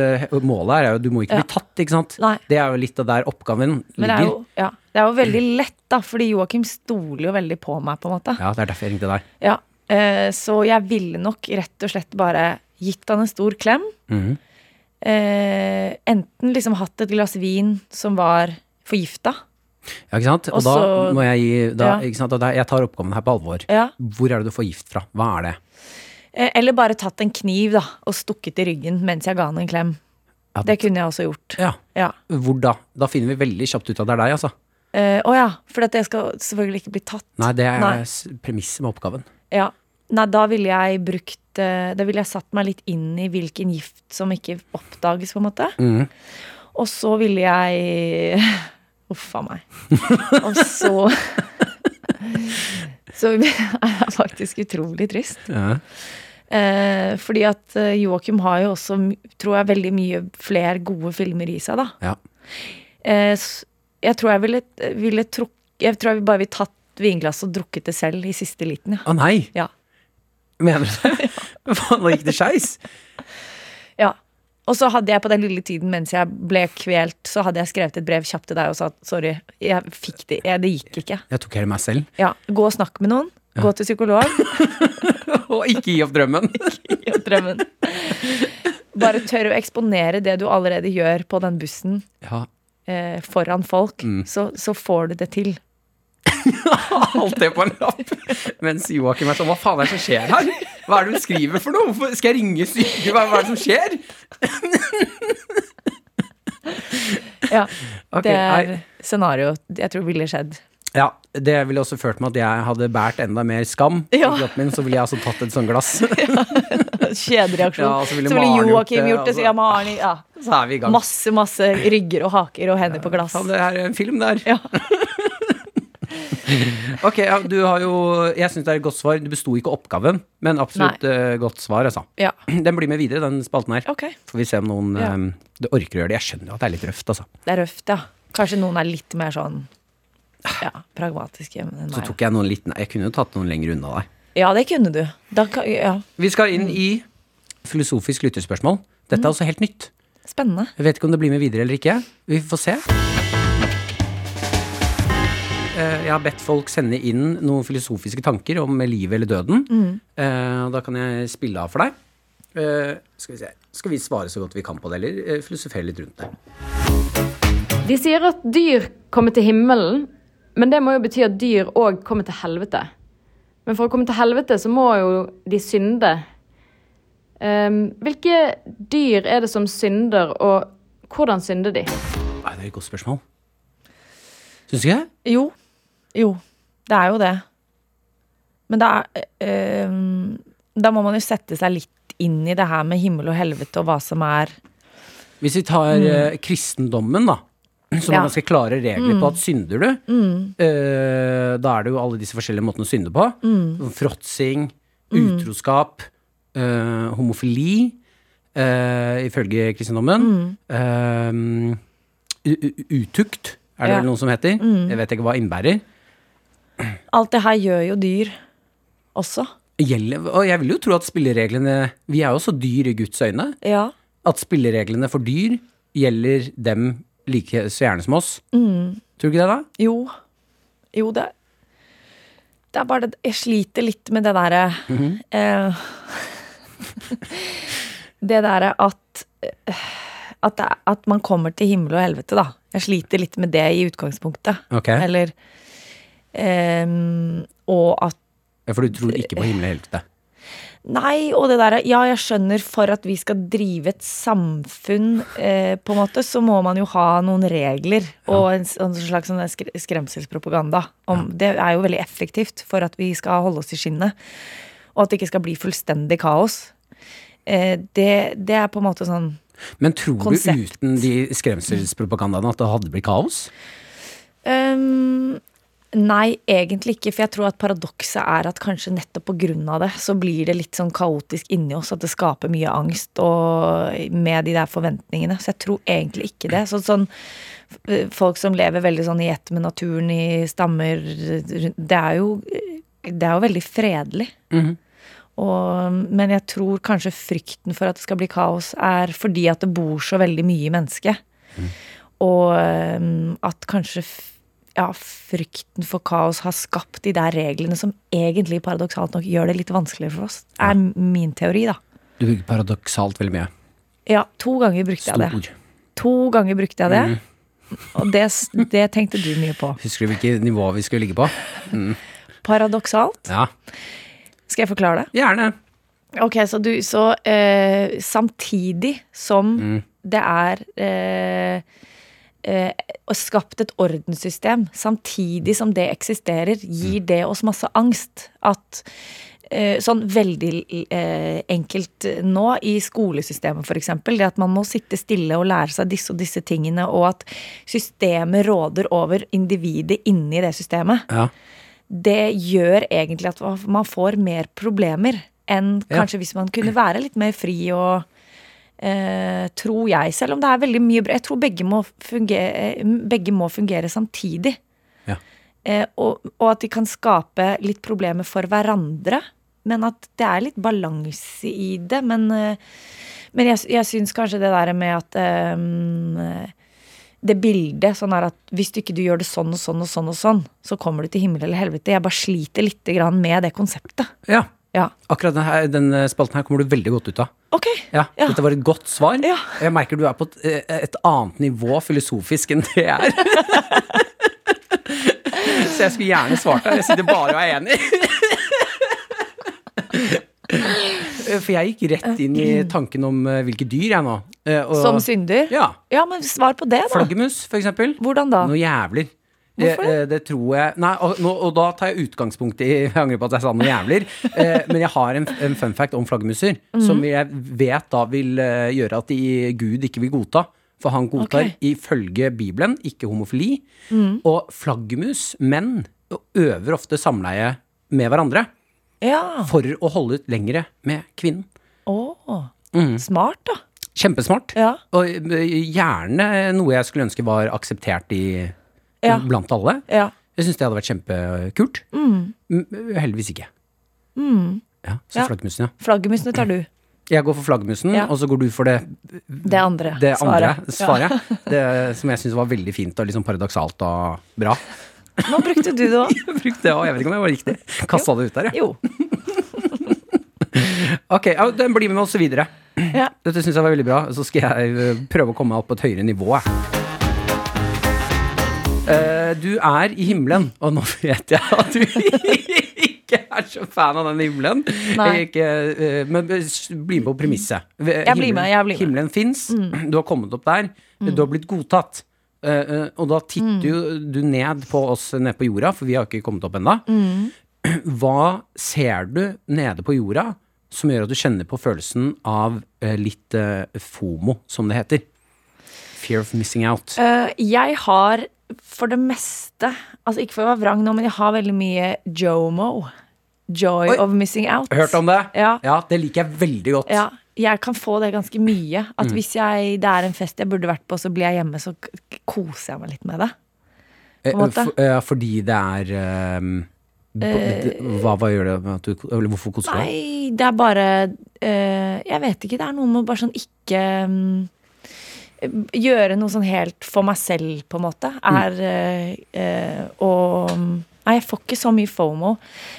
C: målet her er jo du må ikke
D: Ja.
C: bli tatt, ikke sant?
D: Nei.
C: Det er jo litt av der oppgaven ligger.
D: Men det er, jo, ja, det er jo veldig lett, da, fordi Joakim stoler jo veldig på meg, på en måte.
C: Ja, det er derfor jeg ringte deg.
D: Ja, eh, så jeg ville nok rett og slett bare gitt han en stor klem.
C: Mhm.
D: Eh, enten liksom hatt et glass vin som var forgifta.
C: Ja, ikke sant? Og,
D: Og
C: da
D: så-
C: må jeg gi da,
D: Ja.
C: ikke sant? Og da, Jeg tar oppgaven her på alvor.
D: Ja.
C: Hvor er det du får gift fra? Hva er det?
D: Eh, eller bare tatt en kniv da, og stukket i ryggen mens jeg ga han en klem.
C: Ja,
D: Det kunne jeg også gjort.
C: Ja.
D: Ja.
C: Hvor da? Da finner vi veldig kjapt ut at det er deg, altså.
D: Eh, å ja, for at jeg skal selvfølgelig ikke bli tatt.
C: Nei, det er
D: Nei.
C: s- premisset med oppgaven.
D: Ja. Nei, da ville jeg brukt eh, Da ville jeg satt meg litt inn i hvilken gift som ikke oppdages, på en måte.
C: Mhm.
D: Og så ville jeg Uff a meg. Og så Så er jeg faktisk utrolig trist.
C: Ja.
D: Eh, fordi at eh, Joakim har jo også, m- tror jeg, veldig mye flere gode filmer i seg, da.
C: Ja.
D: Eh, s- jeg tror jeg ville, ville trukk, Jeg tror jeg bare ville tatt vinglasset og drukket det selv i siste liten, ja.
C: Å nei,
D: ja.
C: mener du det? Faen, nå gikk det skeis.
D: ja. Og så hadde jeg på den lille tiden mens jeg ble kvelt, så hadde jeg skrevet et brev kjapt til deg og sagt sorry, jeg fikk det, jeg, det gikk ikke.
C: Jeg tok hele meg selv.
D: Ja, gå og snakk med noen. Gå til psykolog.
C: Og ikke gi opp drømmen.
D: Ja, drømmen. Bare tør å eksponere det du allerede gjør på den bussen
C: Ja,
D: eh, foran folk,
C: Mm.
D: så, så får du det til.
C: alt det på en lapp. Mens Joakim er sånn, hva faen er det som skjer her? Hva er det hun skriver for noe? Hvorfor- Skal jeg ringe sykehuset? Hva hva er det som skjer?
D: Ja,
C: Ok,
D: det er
C: nei.
D: scenario jeg tror ville skjedd.
C: Ja, det ville også ført med at jeg hadde bært enda mer skam
D: Ja.
C: i kroppen min, så ville jeg altså tatt et sånt glass. Ja,
D: Kjedereaksjon.
C: og så ville
D: så ville
C: Maren gjort
D: Joakim
C: det,
D: gjort
C: og
D: det, så
C: så-
D: ja, Maren ja.
C: Så er vi i gang.
D: Masse, masse rygger og haker og hender på glass.
C: Faen, det er en film der.
D: Ja.
C: ok, ja, du har jo Jeg syns det er et godt svar. Du besto ikke oppgaven, men absolutt eh, godt svar, altså.
D: Ja.
C: Den blir med videre, den spalten her.
D: Ok.
C: Får vi se om noen
D: Ja.
C: eh, du orker å gjøre det. Jeg skjønner jo at det er litt røft, altså.
D: Det er røft, ja. Kanskje noen er litt mer sånn ja, pragmatiske enn
C: Så
D: meg.
C: tok jeg noen litt nær- Jeg kunne jo tatt noen lenger unna deg.
D: Ja, det kunne du. Da kan, ja.
C: Vi skal inn i filosofisk lytterspørsmål. Dette er også helt nytt.
D: Spennende.
C: Jeg vet ikke om det blir med videre eller ikke. Vi får se. Eh, Jeg har bedt folk sende inn noen filosofiske tanker om livet eller døden. Eh, og Da kan jeg spille av for deg. Eh, Skal vi se. Skal vi svare så godt vi kan på det, eller eh, filosofere litt rundt det?
E: De sier at dyr kommer til himmelen, men det må jo bety at dyr òg kommer til helvete. Men for å komme til helvete så må jo de synde Ehm, hvilke dyr er det som synder, og hvordan synder de?
C: Nei, det er et godt spørsmål. Syns du ikke? det?
D: Jo. Jo. Det er jo det. Men det er eh, Da må man jo sette seg litt inn i det her med himmel og helvete og hva som er
C: Hvis vi tar eh, kristendommen, da. Som
D: Mm. Ja. Mm.
C: har ganske klare regler på at synder du, eh, da er det jo alle disse forskjellige måtene å synde på.
D: Mm.
C: Sånn Fråtsing, utroskap, eh, homofili, eh, ifølge kristendommen.
D: Mm.
C: Eh, u- u- utukt, er det
D: Ja. Mm.
C: vel noe som heter. Jeg vet ikke hva innbærer.
D: Alt det her gjør jo dyr også.
C: Gjelder, og jeg vil jo tro at spillereglene Vi er jo så dyr i Guds øyne.
D: Ja.
C: at spillereglene for dyr gjelder dem like så gjerne som oss. Tror du ikke det, da?
D: Jo. Jo, det Det er bare det Jeg sliter litt med det derre eh, Det derre at eh, at, det, er- at man kommer til himmel og helvete, da. Jeg sliter litt med det i utgangspunktet.
C: Ok.
D: Eller ehm, Og at
C: Ja, For du tror ikke på himmel og helvete.
D: Nei, og det derre Ja, jeg skjønner, for at vi skal drive et samfunn, eh, på en måte, så må man jo ha noen regler og en, s- en slags sånn skre- skremselspropaganda. Om, Det er jo veldig effektivt for at vi skal holde oss i skinnet, og at det ikke skal bli fullstendig kaos. Eh, det, det er på en måte sånn
C: Men tror du
D: Konsept.
C: uten de skremselspropagandaene at det hadde blitt kaos?
D: Ehm, nei, egentlig ikke. For jeg tror at paradokset er at kanskje nettopp på grunn av det, så blir det litt sånn kaotisk inni oss. At det skaper mye angst og med de der forventningene. Så jeg tror egentlig ikke det. Så, sånn eh, folk som lever veldig sånn i ett med naturen, i stammer rundt- Det er jo, det er jo veldig fredelig. Og, men jeg tror kanskje frykten for at det skal bli kaos, er fordi at det bor så veldig mye i mennesket. Og øhm, at kanskje f- ja, frykten for kaos har skapt de der reglene som egentlig paradoksalt nok gjør det litt vanskeligere for oss. Er min teori, da.
C: Du bruker paradoksalt veldig mye.
D: Ja, to ganger brukte jeg det.
C: Stor.
D: To ganger brukte jeg det. Og det, s- det tenkte du mye på.
C: Husker du hvilket nivå vi skulle ligge på?
D: Paradoksalt.
C: Ja,
D: Skal jeg forklare det?
C: gjerne.
D: Ok, så du Så eh, samtidig som det er eh, eh, og skapt et ordenssystem, samtidig som det eksisterer, gir det oss masse angst. At eh, Sånn veldig eh, enkelt nå, i skolesystemet f.eks., det at man må sitte stille og lære seg disse og disse tingene, og at systemet råder over individet inni det systemet
C: Ja.
D: det gjør egentlig at man får mer problemer enn
C: Ja.
D: kanskje hvis man kunne være litt mer fri og eh, Tror jeg, selv om det er veldig mye bra. Jeg tror begge må fungere, begge må fungere samtidig.
C: Ja.
D: Eh, og, og at de kan skape litt problemer for hverandre. Men at det er litt balanse i det. Men, eh, men jeg, jeg syns kanskje det der med at eh, det bildet sånn er at hvis du ikke du gjør det sånn og sånn og sånn, og sånn, så kommer du til himmel eller helvete. Jeg bare sliter litt grann med det konseptet.
C: ja.
D: Ja.
C: Akkurat denne, denne spalten her kommer du veldig godt ut av.
D: Ok.
C: Ja,
D: Ja.
C: Dette var et godt svar.
D: Ja.
C: Jeg merker du er på et, eh, et annet nivå filosofisk enn det jeg er. Så jeg skulle gjerne svart deg. Jeg sitter bare og er enig. For jeg gikk rett inn i tanken om eh, hvilke dyr jeg nå. eh, og-
D: Som synder?
C: Ja.
D: men svar på det, da.
C: Flaggermus, for eksempel.
D: Hvordan da?
C: Noe jævler. Det,
D: Hvorfor det?
C: eh, det tror jeg Nei, og, nå, og da tar jeg utgangspunkt i Jeg angrer på at jeg sa noe jævler. Eh, men jeg har en, en fun fact om flaggermuser
D: Mhm.
C: som jeg vet da vil eh, gjøre at de, Gud ikke vil godta. For han godtar
D: Ok. Mhm.
C: ifølge Bibelen ikke homofili. Og flaggermus, menn, øver ofte samleie med hverandre
D: Ja.
C: for å holde ut lengre med kvinnen.
D: Å.
C: Mm.
D: Smart, da.
C: Kjempesmart.
D: Ja.
C: Og eh, gjerne noe jeg skulle ønske var akseptert i,
D: Ja.
C: blant alle.
D: Ja.
C: Jeg syns det hadde vært kjempekult. M- Heldigvis ikke. Mm. Ja, så
D: Ja.
C: flaggermusen, ja.
D: Flaggermusene tar du.
C: Jeg går for flaggermusen,
D: Ja.
C: og så går du for det,
D: Det andre
C: det andre
D: svaret. Ja.
C: svaret. Det som jeg syns var veldig fint og liksom paradoksalt og bra.
D: Nå brukte du det òg.
C: Jeg brukte det, og jeg vet ikke om jeg var riktig. Kasta det ut der, jeg.
D: Jo.
C: Ok, ja, den blir med oss videre.
D: Ja.
C: Dette syns jeg var veldig bra. Så skal jeg eh, prøve å komme meg opp på et høyere nivå. Jeg. Eh, du er i himmelen, og nå vet jeg at du ikke ikke er så fan av den himmelen.
D: Nei.
C: Jeg Ikke, eh, men s- bli med på premisset. Eh, Jeg
D: blir med, jeg blir med. Mm.
C: Himmelen fins. Du har kommet opp der. Du har blitt godtatt. Eh, eh, og da titter jo
D: Mm.
C: du ned på oss nede på jorda, for vi har ikke kommet opp ennå.
D: Mm.
C: Hva ser du nede på jorda som gjør at du kjenner på følelsen av eh, litt eh, fomo, som det heter? Fear of missing out.
D: Eh, jeg har for det meste Altså ikke for å være vrang nå, men jeg har veldig mye jomo. Joy
C: Oi.
D: of missing out.
C: Hørt om det?
D: Ja.
C: det liker jeg veldig godt.
D: Ja, jeg kan få det ganske mye.
C: Mm.
D: At hvis jeg, det er en fest jeg burde vært på, så blir jeg hjemme, så k- k- koser jeg meg litt med det.
C: Eh,
D: en måte.
C: f- eh, fordi det er ehm, b-
D: Eh,
C: hva, hva gjør det med at du Eller hvorfor koser du deg?
D: Nei, det er bare eh, Jeg vet ikke. Det er noe med å bare sånn ikke mm, Gjøre noe sånn helt for meg selv, på en måte.
C: Mm.
D: Er eh, eh, Og Nei, jeg får ikke så mye fomo.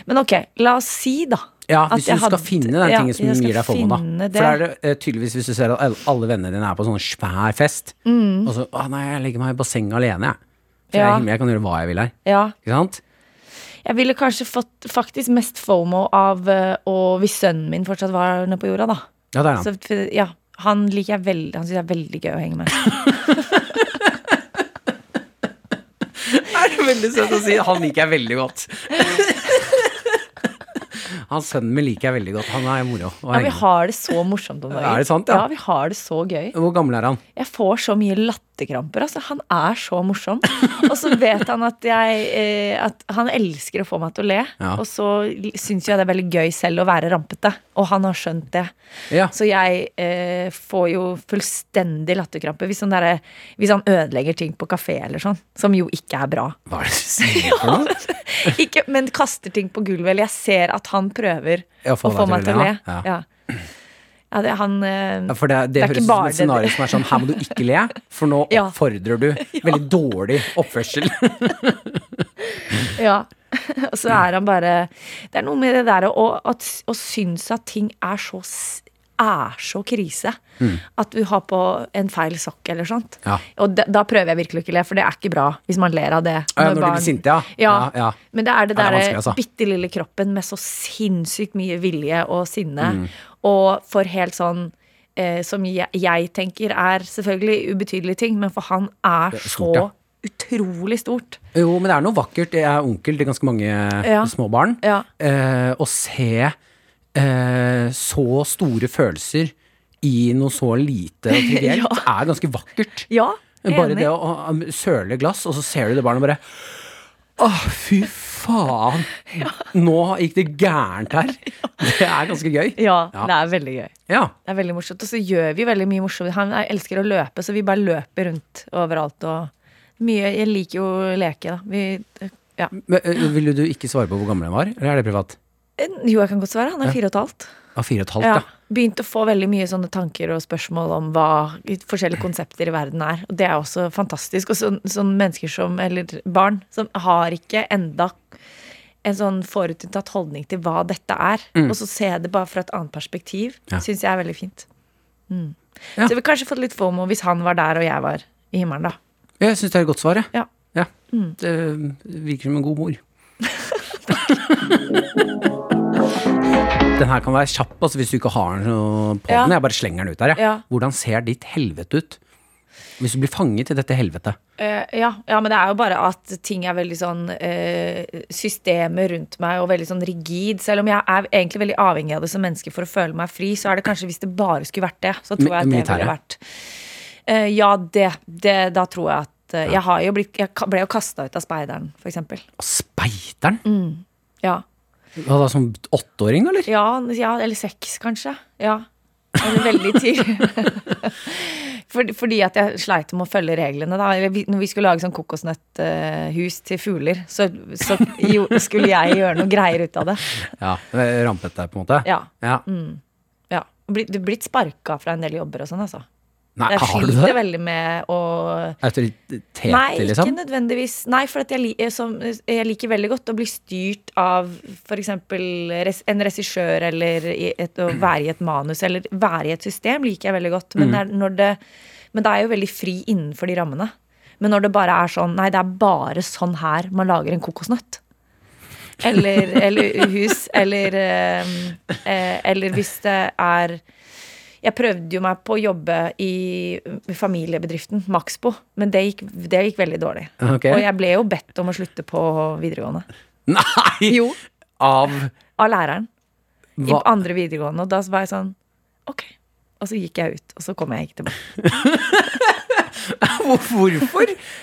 D: Men ok, la oss si, da.
C: Ja,
D: at
C: hvis du
D: jeg
C: skal
D: hadde-
C: finne den
D: ja,
C: tingen som
D: jeg skal
C: gir deg fomo, da.
D: finne det.
C: For da er det eh, tydeligvis hvis du ser at alle- alle vennene dine er på sånn svær fest, og så Å nei, jeg legger meg i bassenget alene, jeg. For jeg,
D: Mm. Ja.
C: er himmel, jeg kan gjøre hva jeg vil her.
D: Ja.
C: Ikke sant?
D: Jeg ville kanskje fått faktisk mest fomo av eh, å Hvis sønnen min fortsatt var nede på jorda, da.
C: Ja, det er han.
D: Så, for- ja, han liker jeg veldig Han syns det er veldig gøy å henge med.
C: Er det veldig søtt å si? Han liker jeg veldig godt. Han sønnen min liker jeg veldig godt. Han er moro. å
D: Ja,
C: henge
D: vi
C: med.
D: har det så morsomt om dagen.
C: Er det sant, ja?
D: ja, vi har det så gøy.
C: Hvor gammel er han?
D: Jeg får så mye latterkramper. Altså. Han er så morsom. Og så vet han at, jeg, eh, at han elsker å få meg til å le.
C: Ja.
D: Og så syns jeg det er veldig gøy selv å være rampete. Og han har skjønt det.
C: Ja.
D: Så jeg eh, får jo fullstendig latterkrampe hvis, han derre- hvis han ødelegger ting på kafé eller sånn. Som jo ikke er bra.
C: Hva er det du sier for noe?
D: ikke, men kaster ting på gulvet. Eller jeg ser at han prøver
C: Ja,
D: å få meg til å le.
C: Ja.
D: Ja. Ja, det, han, eh,
C: Ja, for det, det,
D: Det er
C: høres ut
D: ikke
C: som
D: bare
C: et
D: det-
C: scenario som er sånn Her må du ikke le, for nå
D: Ja.
C: oppfordrer du veldig dårlig oppførsel.
D: Ja. Og så er han bare Det er noe med det der å, at, å synes at ting er så s- er så krise. At du har på en feil sokk eller sånt.
C: Mm. Ja.
D: Og da, da prøver jeg virkelig å ikke le, for det er ikke bra hvis man ler av det.
C: Ja, når de blir sinte, ja. Ja, ja.
D: Men det
C: Ja,
D: er det
C: det er
D: derre
C: vanskelig, altså.
D: bitte lille kroppen med så sinnssykt mye vilje og sinne,
C: Mm.
D: og for helt sånn eh, Som jeg, jeg tenker er selvfølgelig ubetydelige ting, men for han er,
C: stort,
D: så
C: ja.
D: utrolig stort.
C: Jo, men det er noe vakkert. Jeg er onkel til ganske mange
D: Ja.
C: små barn.
D: Ja.
C: Eh, å se eh, så store følelser i noe så lite og trivielt er ganske vakkert.
D: Ja, jeg er
C: Bare
D: enig.
C: det å, å å søle glass, og så ser du det barnet bare Åh, fy faen! Nå gikk det gærent her. Det er ganske gøy.
D: Ja,
C: Ja.
D: det er veldig gøy.
C: Ja.
D: Det er veldig morsomt. Og så gjør vi veldig mye morsomt. Han er- elsker å løpe, så vi bare løper rundt overalt og mye Jeg liker jo å leke, da. Vi ja.
C: Men, ø, ville du ikke svare på hvor gammel han var, eller er det privat?
D: En- Jo, jeg Eh, kan godt svare. Han er fire og et halvt.
C: Av fire og et halvt,
D: Ja.
C: ja.
D: Begynt å få veldig mye sånne tanker og spørsmål om hva
C: Mm.
D: forskjellige konsepter i verden er. Og det er også fantastisk. Og sånn sånn mennesker som, eller barn, som har ikke enda en sånn forutinntatt holdning til hva dette er. Og så se det bare fra et annet perspektiv,
C: Mm. Ja.
D: Synes syns jeg er veldig fint. Mm.
C: Ja.
D: Så vi kanskje fått litt fomo hvis han var der og jeg var i himmelen, da.
C: Jeg syns det er et godt svar, jeg.
D: Ja.
C: Ja. Det ø, virker som en god mor. den her kan være kjapp altså, hvis du ikke har den så- på
D: Ja.
C: den. Jeg bare slenger den ut der, jeg.
D: Ja.
C: Hvordan ser ditt helvete ut? Hvis du blir fanget i dette helvetet.
D: Eh, ja, ja, men det er jo bare at ting er veldig sånn eh, Systemet rundt meg og veldig sånn rigid. Selv om jeg er egentlig veldig avhengig av det som menneske for å føle meg fri, så er det kanskje hvis det bare skulle vært det, så tror jeg at det
C: Militæret?
D: ville vært Eh, Ja, det, det Da tror jeg at eh, Jeg har jo blitt Jeg ka- ble jo kasta ut av speideren, for eksempel.
C: Og Speideren?
D: Mm. Ja.
C: Hva da, som åtteåring, eller?
D: Ja, ja, eller sex, kanskje. Ja. Eller veldig tidlig. Fordi, fordi at jeg sleit med å følge reglene. Da. Eller vi- Når vi skulle lage sånn kokosnøtthus til fugler, så, så jo, skulle jeg gjøre noe greier ut av det.
C: Ja, det Rampet deg, på en måte?
D: Ja. Mm.
C: ja.
D: Ja. Bli- Du er blitt sparka fra en del jobber og sånn, altså.
C: Nei,
D: Jeg
C: har du
D: sliter
C: det?
D: veldig med å
C: Autoritet,
D: Nei,
C: liksom?
D: ikke nødvendigvis. Nei, for at jeg, li- eh, som, jeg liker veldig godt å bli styrt av f.eks. en regissør, eller i et, å være i et manus, eller være i et system, liker jeg veldig godt.
C: Mm.
D: Men, det er, når det, men da er jeg jo veldig fri innenfor de rammene. Men når det bare er sånn Nei, det er bare sånn her man lager en kokosnøtt. eller, eller hus, eller eh, eh, Eller hvis det er Jeg prøvde jo meg på å jobbe i familiebedriften Maxbo, men det gikk, det gikk veldig dårlig.
C: Ok.
D: Og jeg ble jo bedt om å slutte på videregående.
C: Nei!
D: Jo.
C: Av
D: Av læreren. I
C: hva?
D: andre videregående. Og da var jeg sånn Ok. Og så gikk jeg ut, og så kom jeg ikke tilbake.
C: Hvorfor?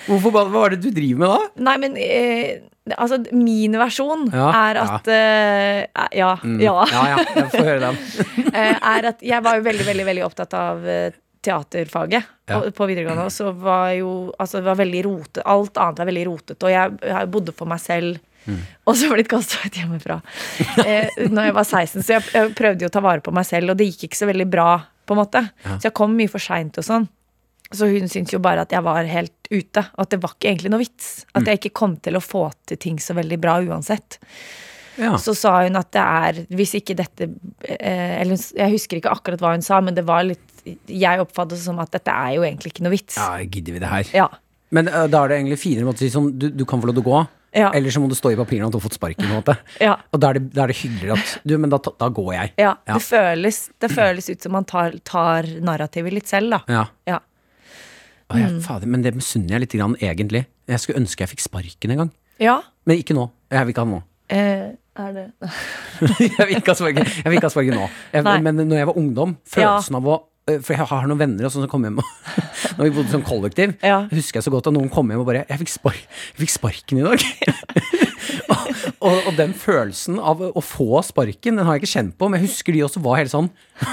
C: Hvorfor? Hva var det du driver med da?
D: Nei, men eh, altså, min versjon
C: Ja, Mm.
D: er at eh, Ja. ja.
C: Ja, ja, jeg får høre den.
D: eh, er at jeg var jo veldig, veldig, veldig opptatt av eh, teaterfaget
C: Ja.
D: på- på videregående. Og så var jo altså, det var veldig rotet, alt annet var veldig rotete, og jeg, jeg bodde for meg selv. Og så blitt kasta ut hjemmefra eh, Når jeg var 16. Så jeg, jeg prøvde jo å ta vare på meg selv, og det gikk ikke så veldig bra. på en måte Så jeg kom mye for seint og sånn. Så hun syntes jo bare at jeg var helt ute, og at det var ikke egentlig noe vits. At jeg ikke kom til å få til ting så veldig bra uansett.
C: Ja.
D: Så sa hun at det er Hvis ikke dette eh, Eller hun s- jeg husker ikke akkurat hva hun sa, men det var litt Jeg oppfattet det som at dette er jo egentlig ikke noe vits.
C: ja, gidder vi det her?
D: Ja.
C: Men eh, da er det egentlig finere måte å si sånn du, du kan få lov til å gå,
D: Ja.
C: eller så må du stå i papirene at du har fått sparken. på en måte
D: Ja.
C: Og da er, det, da er det hyggeligere at Du, men da, ta- da går jeg.
D: ja.
C: Ja.
D: Det, føles, det føles ut som man tar, tar narrativet litt selv, da.
C: Ja.
D: Ja.
C: Å, jeg
D: Mm.
C: fader, men det misunner jeg litt, grann, egentlig. Jeg skulle ønske jeg fikk sparken en gang.
D: ja.
C: Men ikke nå. Jeg vil ikke ha den nå.
D: Eh, er det
C: jeg vil ikke ha sparken, jeg vil ikke ha sparken nå. Jeg,
D: Nei.
C: men når jeg var ungdom,
D: Ja.
C: følelsen av å øh, For jeg har noen venner og sånn som kom hjem og Når vi bodde som kollektiv,
D: Ja.
C: husker jeg så godt at noen kom hjem og bare 'Jeg fikk, spar jeg fikk sparken i dag'. og, og, og den følelsen av å få sparken, den har jeg ikke kjent på, men jeg husker de også var helt sånn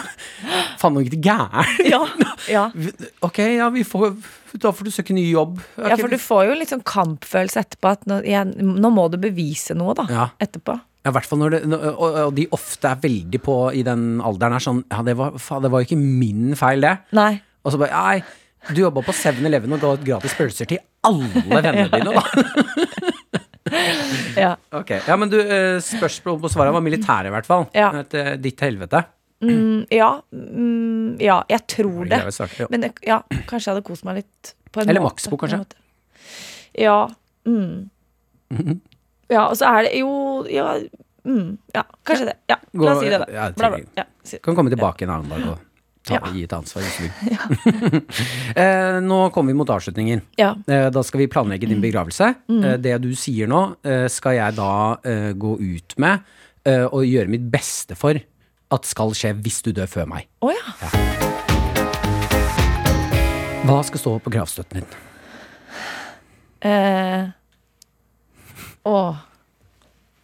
C: Faen, nå gikk det gæren.
D: Ja. ja.
C: Ok, ja, vi får Da får du søke ny jobb. Ok,
D: Ja, for du får jo litt sånn kampfølelse etterpå. At nå, jeg, nå må du bevise noe, da.
C: Ja.
D: Etterpå.
C: Ja, i hvert fall når det, når- og, og de ofte er veldig på i den alderen her sånn Ja, det var, faen, det var jo ikke min feil, det.
D: Nei.
C: Og så bare Nei, du jobba på 7-Eleven og ga ut gratis pølser til alle vennene dine, da.
D: Ja.
C: Ok, ja, Men du, eh, spørsmålet på svaret var militæret, i hvert fall.
D: Ja.
C: Et, eh, ditt helvete.
D: Mm, ja. Mm, ja, jeg tror
C: Det
D: det.
C: er vel svart, ja.
D: Men jeg- ja, kanskje jeg hadde kost meg litt. På en
C: Eller
D: måte,
C: Maxbo,
D: på en
C: kanskje?
D: måte. Ja. Mm.
C: Mhm.
D: Ja, og så er det jo ja, mm, ja, kanskje det. Ja, la oss si det, da.
C: Ja, jeg
D: Bla, bla.
C: tenker-
D: Ja, si det.
C: Kan komme tilbake en annen dag og ta,
D: Ja.
C: gi et ansvar. hvis du vil. eh, nå kommer vi mot avslutningen.
D: ja. Mm.
C: Eh, Da skal vi planlegge din begravelse. Eh, Det du sier nå, eh, skal jeg da eh, gå ut med eh, og gjøre mitt beste for at skal skje hvis du dør før meg.
D: Å ja.
C: Hva skal stå på gravstøtten din?
D: Eh, å.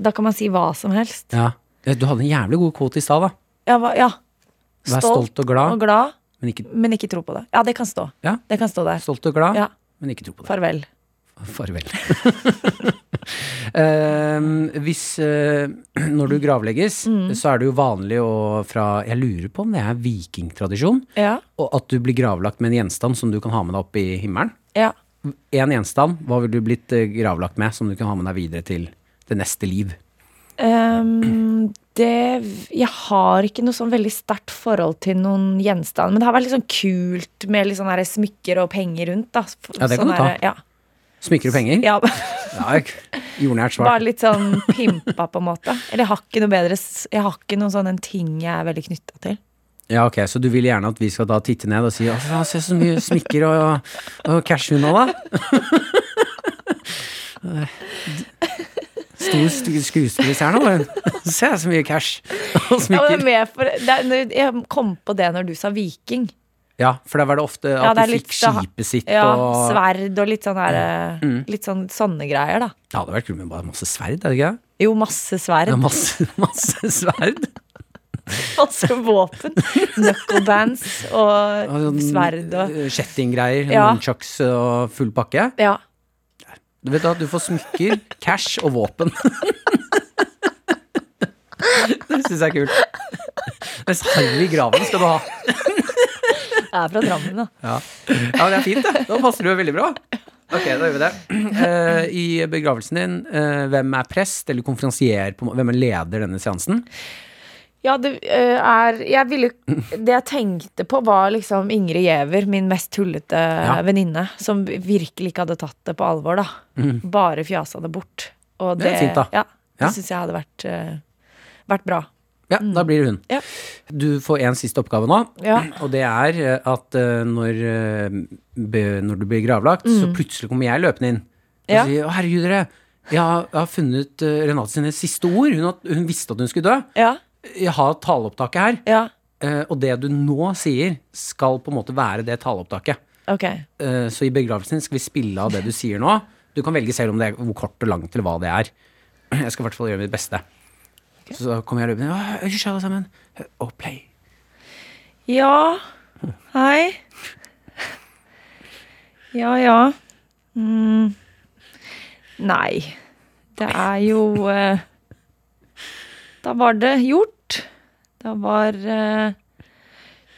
D: Da kan man si hva som helst.
C: Ja. Eh, Du hadde en jævlig god quote i stad, da.
D: Ja. Hva, ja.
C: Vær stolt og glad,
D: og glad,
C: men ikke
D: men ikke tro på det. Ja, det kan stå.
C: Ja.
D: Det kan stå der.
C: stolt og glad,
D: Ja.
C: men ikke tro på det. Ah,
D: Farvel.
C: Farvel. Eh, hvis eh, Når du gravlegges,
D: Mm.
C: så er det jo vanlig å fra Jeg lurer på om det er vikingtradisjon,
D: Ja.
C: og at du blir gravlagt med en gjenstand som du kan ha med deg opp i himmelen.
D: Ja.
C: én gjenstand, hva ville du blitt eh, gravlagt med som du kan ha med deg videre til det neste liv?
D: Ehm, det Jeg har ikke noe sånn veldig sterkt forhold til noen gjenstand. Men det har vært litt sånn kult med litt sånne her smykker og penger rundt. Da.
C: Ja, det kan
D: Sånn
C: du ta.
D: her, Ja.
C: Smykker og penger?
D: ja.
C: Ja, jeg- Jordnært
D: Bare
C: svar.
D: litt sånn pimpa, på en måte. Eller jeg har ikke noe bedre s- Jeg har ikke noen sånn en ting jeg er veldig knytta til.
C: Ja, ok, så du vil gjerne at vi skal da titte ned og si «Å, faen, se så mye smykker og, og cash hun har, da. Stor st- skuespiller her nå, bare. Se så mye cash og
D: Ja, men det er
C: smykker.
D: mer for, det er, når- jeg kom på det når du sa viking.
C: Ja, for der var det ofte
D: Ja,
C: at
D: det er
C: du
D: litt
C: fikk
D: så-
C: skipet sitt
D: Ja,
C: og Mm.
D: Sverd og litt sånn her eh, Litt sånn sånne greier, da.
C: Det hadde vært kult med bare masse sverd, er det ikke? det?
D: Jo, masse sverd.
C: Ja, masse, masse sverd.
D: Masse våpen. Knucklebands
C: sånn
D: og sverd og
C: eh, Kjettinggreier,
D: Ja.
C: nunchucks og full pakke.
D: Ja.
C: Du vet da, du får smykker, cash og våpen. Det syns jeg er kult. Mens harry i graven skal du ha.
D: Jeg er fra Drammen, da.
C: Ja, ja det er fint, det. Da passer du jo veldig bra. Ok, da gjør vi det. Eh, I begravelsen din, eh, hvem er prest eller konferansier? På, hvem er leder denne seansen?
D: Ja, det eh, er Jeg ville Det jeg tenkte på, var liksom Ingrid Giæver, min mest tullete venninne, som virkelig ikke hadde tatt det på alvor, da. Bare fjasa det bort. Og
C: Mm. Det er fint, da.
D: Ja,
C: Ja.
D: Det syns jeg hadde vært, eh, vært bra.
C: Ja, da blir det hun.
D: Mm. Ja.
C: Du får en siste oppgave nå,
D: Ja.
C: og det er eh, at eh, når, eh, be, når du blir gravlagt, så plutselig kommer jeg løpende inn og
D: Mm. Ja.
C: sier 'Å, herregud, dere, jeg har, jeg har funnet eh, Renate sine siste ord'. Hun, har- hun visste at hun skulle dø.
D: Ja,
C: Jeg har taleopptaket her,
D: ja,
C: eh, og det du nå sier, skal på en måte være det taleopptaket.
D: ok.
C: Eh, Så i begravelsen din skal vi spille av det du sier nå. Du kan velge selv om det er hvor kort og langt eller hva det er. Jeg skal i hvert fall gjøre mitt beste. Så kommer jeg løpende. «Åh, Hysj, alle sammen. Og play.
D: Ja, hei. Ja, ja. Mm. Nei, det er jo eh, Da var det gjort. Da var eh,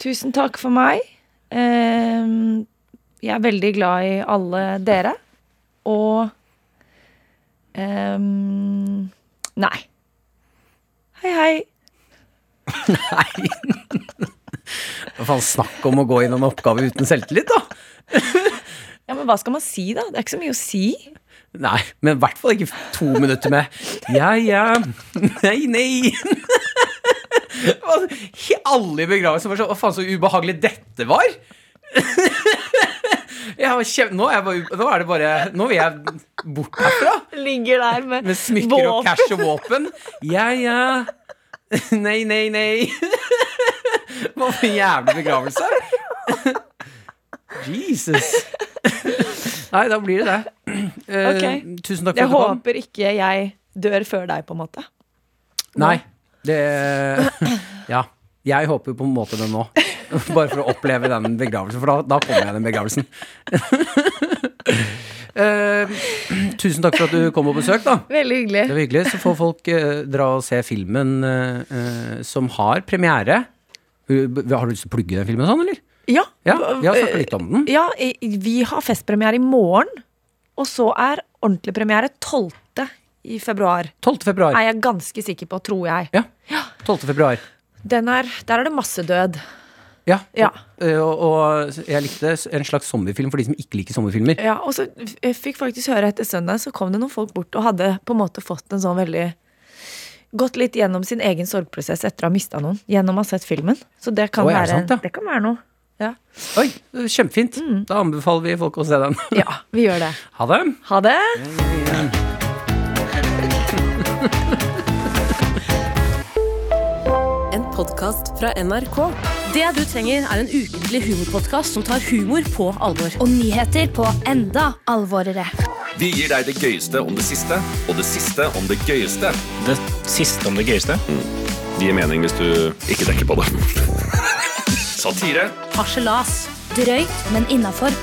D: Tusen takk for meg. Eh, jeg er veldig glad i alle dere. Og eh, Nei. Hei, hei.
C: Hva faen, snakk om å gå inn i en oppgave uten selvtillit, da!
D: Ja, men hva skal man si, da? Det er ikke så mye å si.
C: Nei, men i hvert fall ikke to minutter med ja, ja, nei, nei. Hva- he- Alle i begravelsen var sånn Hva faen, så ubehagelig dette var! Jeg var kjem, nå, er jeg bare, nå er det bare Nå vil jeg bort herfra.
D: Ligger der med,
C: Med smykker og cash og våpen. Ja, ja. Nei, nei, nei. Hva for en jævlig begravelse. Jesus. Nei, da blir det det. Eh,
D: Ok.
C: Tusen takk for
D: Jeg
C: at du kom.
D: håper ikke jeg dør før deg, på en måte.
C: Nei, det Ja. Jeg håper jo på en måte det nå. Bare for å oppleve den begravelsen, for da, da kommer jeg i den begravelsen. Eh, tusen takk for at du kom på besøk, da.
D: Veldig hyggelig.
C: Det var hyggelig. Så får folk eh, dra og se filmen eh, eh, som har premiere. Uh, b- Har du lyst til å plugge den filmen sånn, eller?
D: Ja,
C: Ja, vi har snakket litt om den.
D: ja, i- vi har festpremiere i morgen, og så er ordentlig premiere 12. i februar.
C: 12. februar.
D: Er jeg ganske sikker på, tror jeg.
C: Ja. 12. februar.
D: Den er, der er det masse død.
C: Ja.
D: Ja.
C: Eh, Og, og jeg likte en slags zombiefilm for de som ikke liker zombiefilmer.
D: Ja, og så f- jeg fikk faktisk høre etter søndag, så kom det noen folk bort og hadde på en måte fått en sånn veldig Gått litt gjennom sin egen sorgprosess etter å ha mista noen. Gjennom å ha sett filmen. Så det kan,
C: Oi, er det
D: være,
C: sant, ja?
D: det kan være noe. Ja.
C: Oi, Mm. kjempefint. Da anbefaler vi folk å se den.
D: ja, vi gjør det.
C: Ha det.
D: Ha det!
F: En podkast fra NRK. Det du trenger, er en ukentlig humorpodkast som tar humor på alvor.
G: og nyheter på enda alvorere.
H: Vi gir deg det gøyeste om det siste, og det siste om det gøyeste. Mm.
I: Det siste om det gøyeste.
H: Det gir mening hvis du ikke tenker på det. Satire.
F: Harselas.
G: Drøyt, men innafor.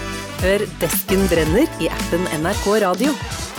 F: Hør Desken brenner i appen NRK Radio.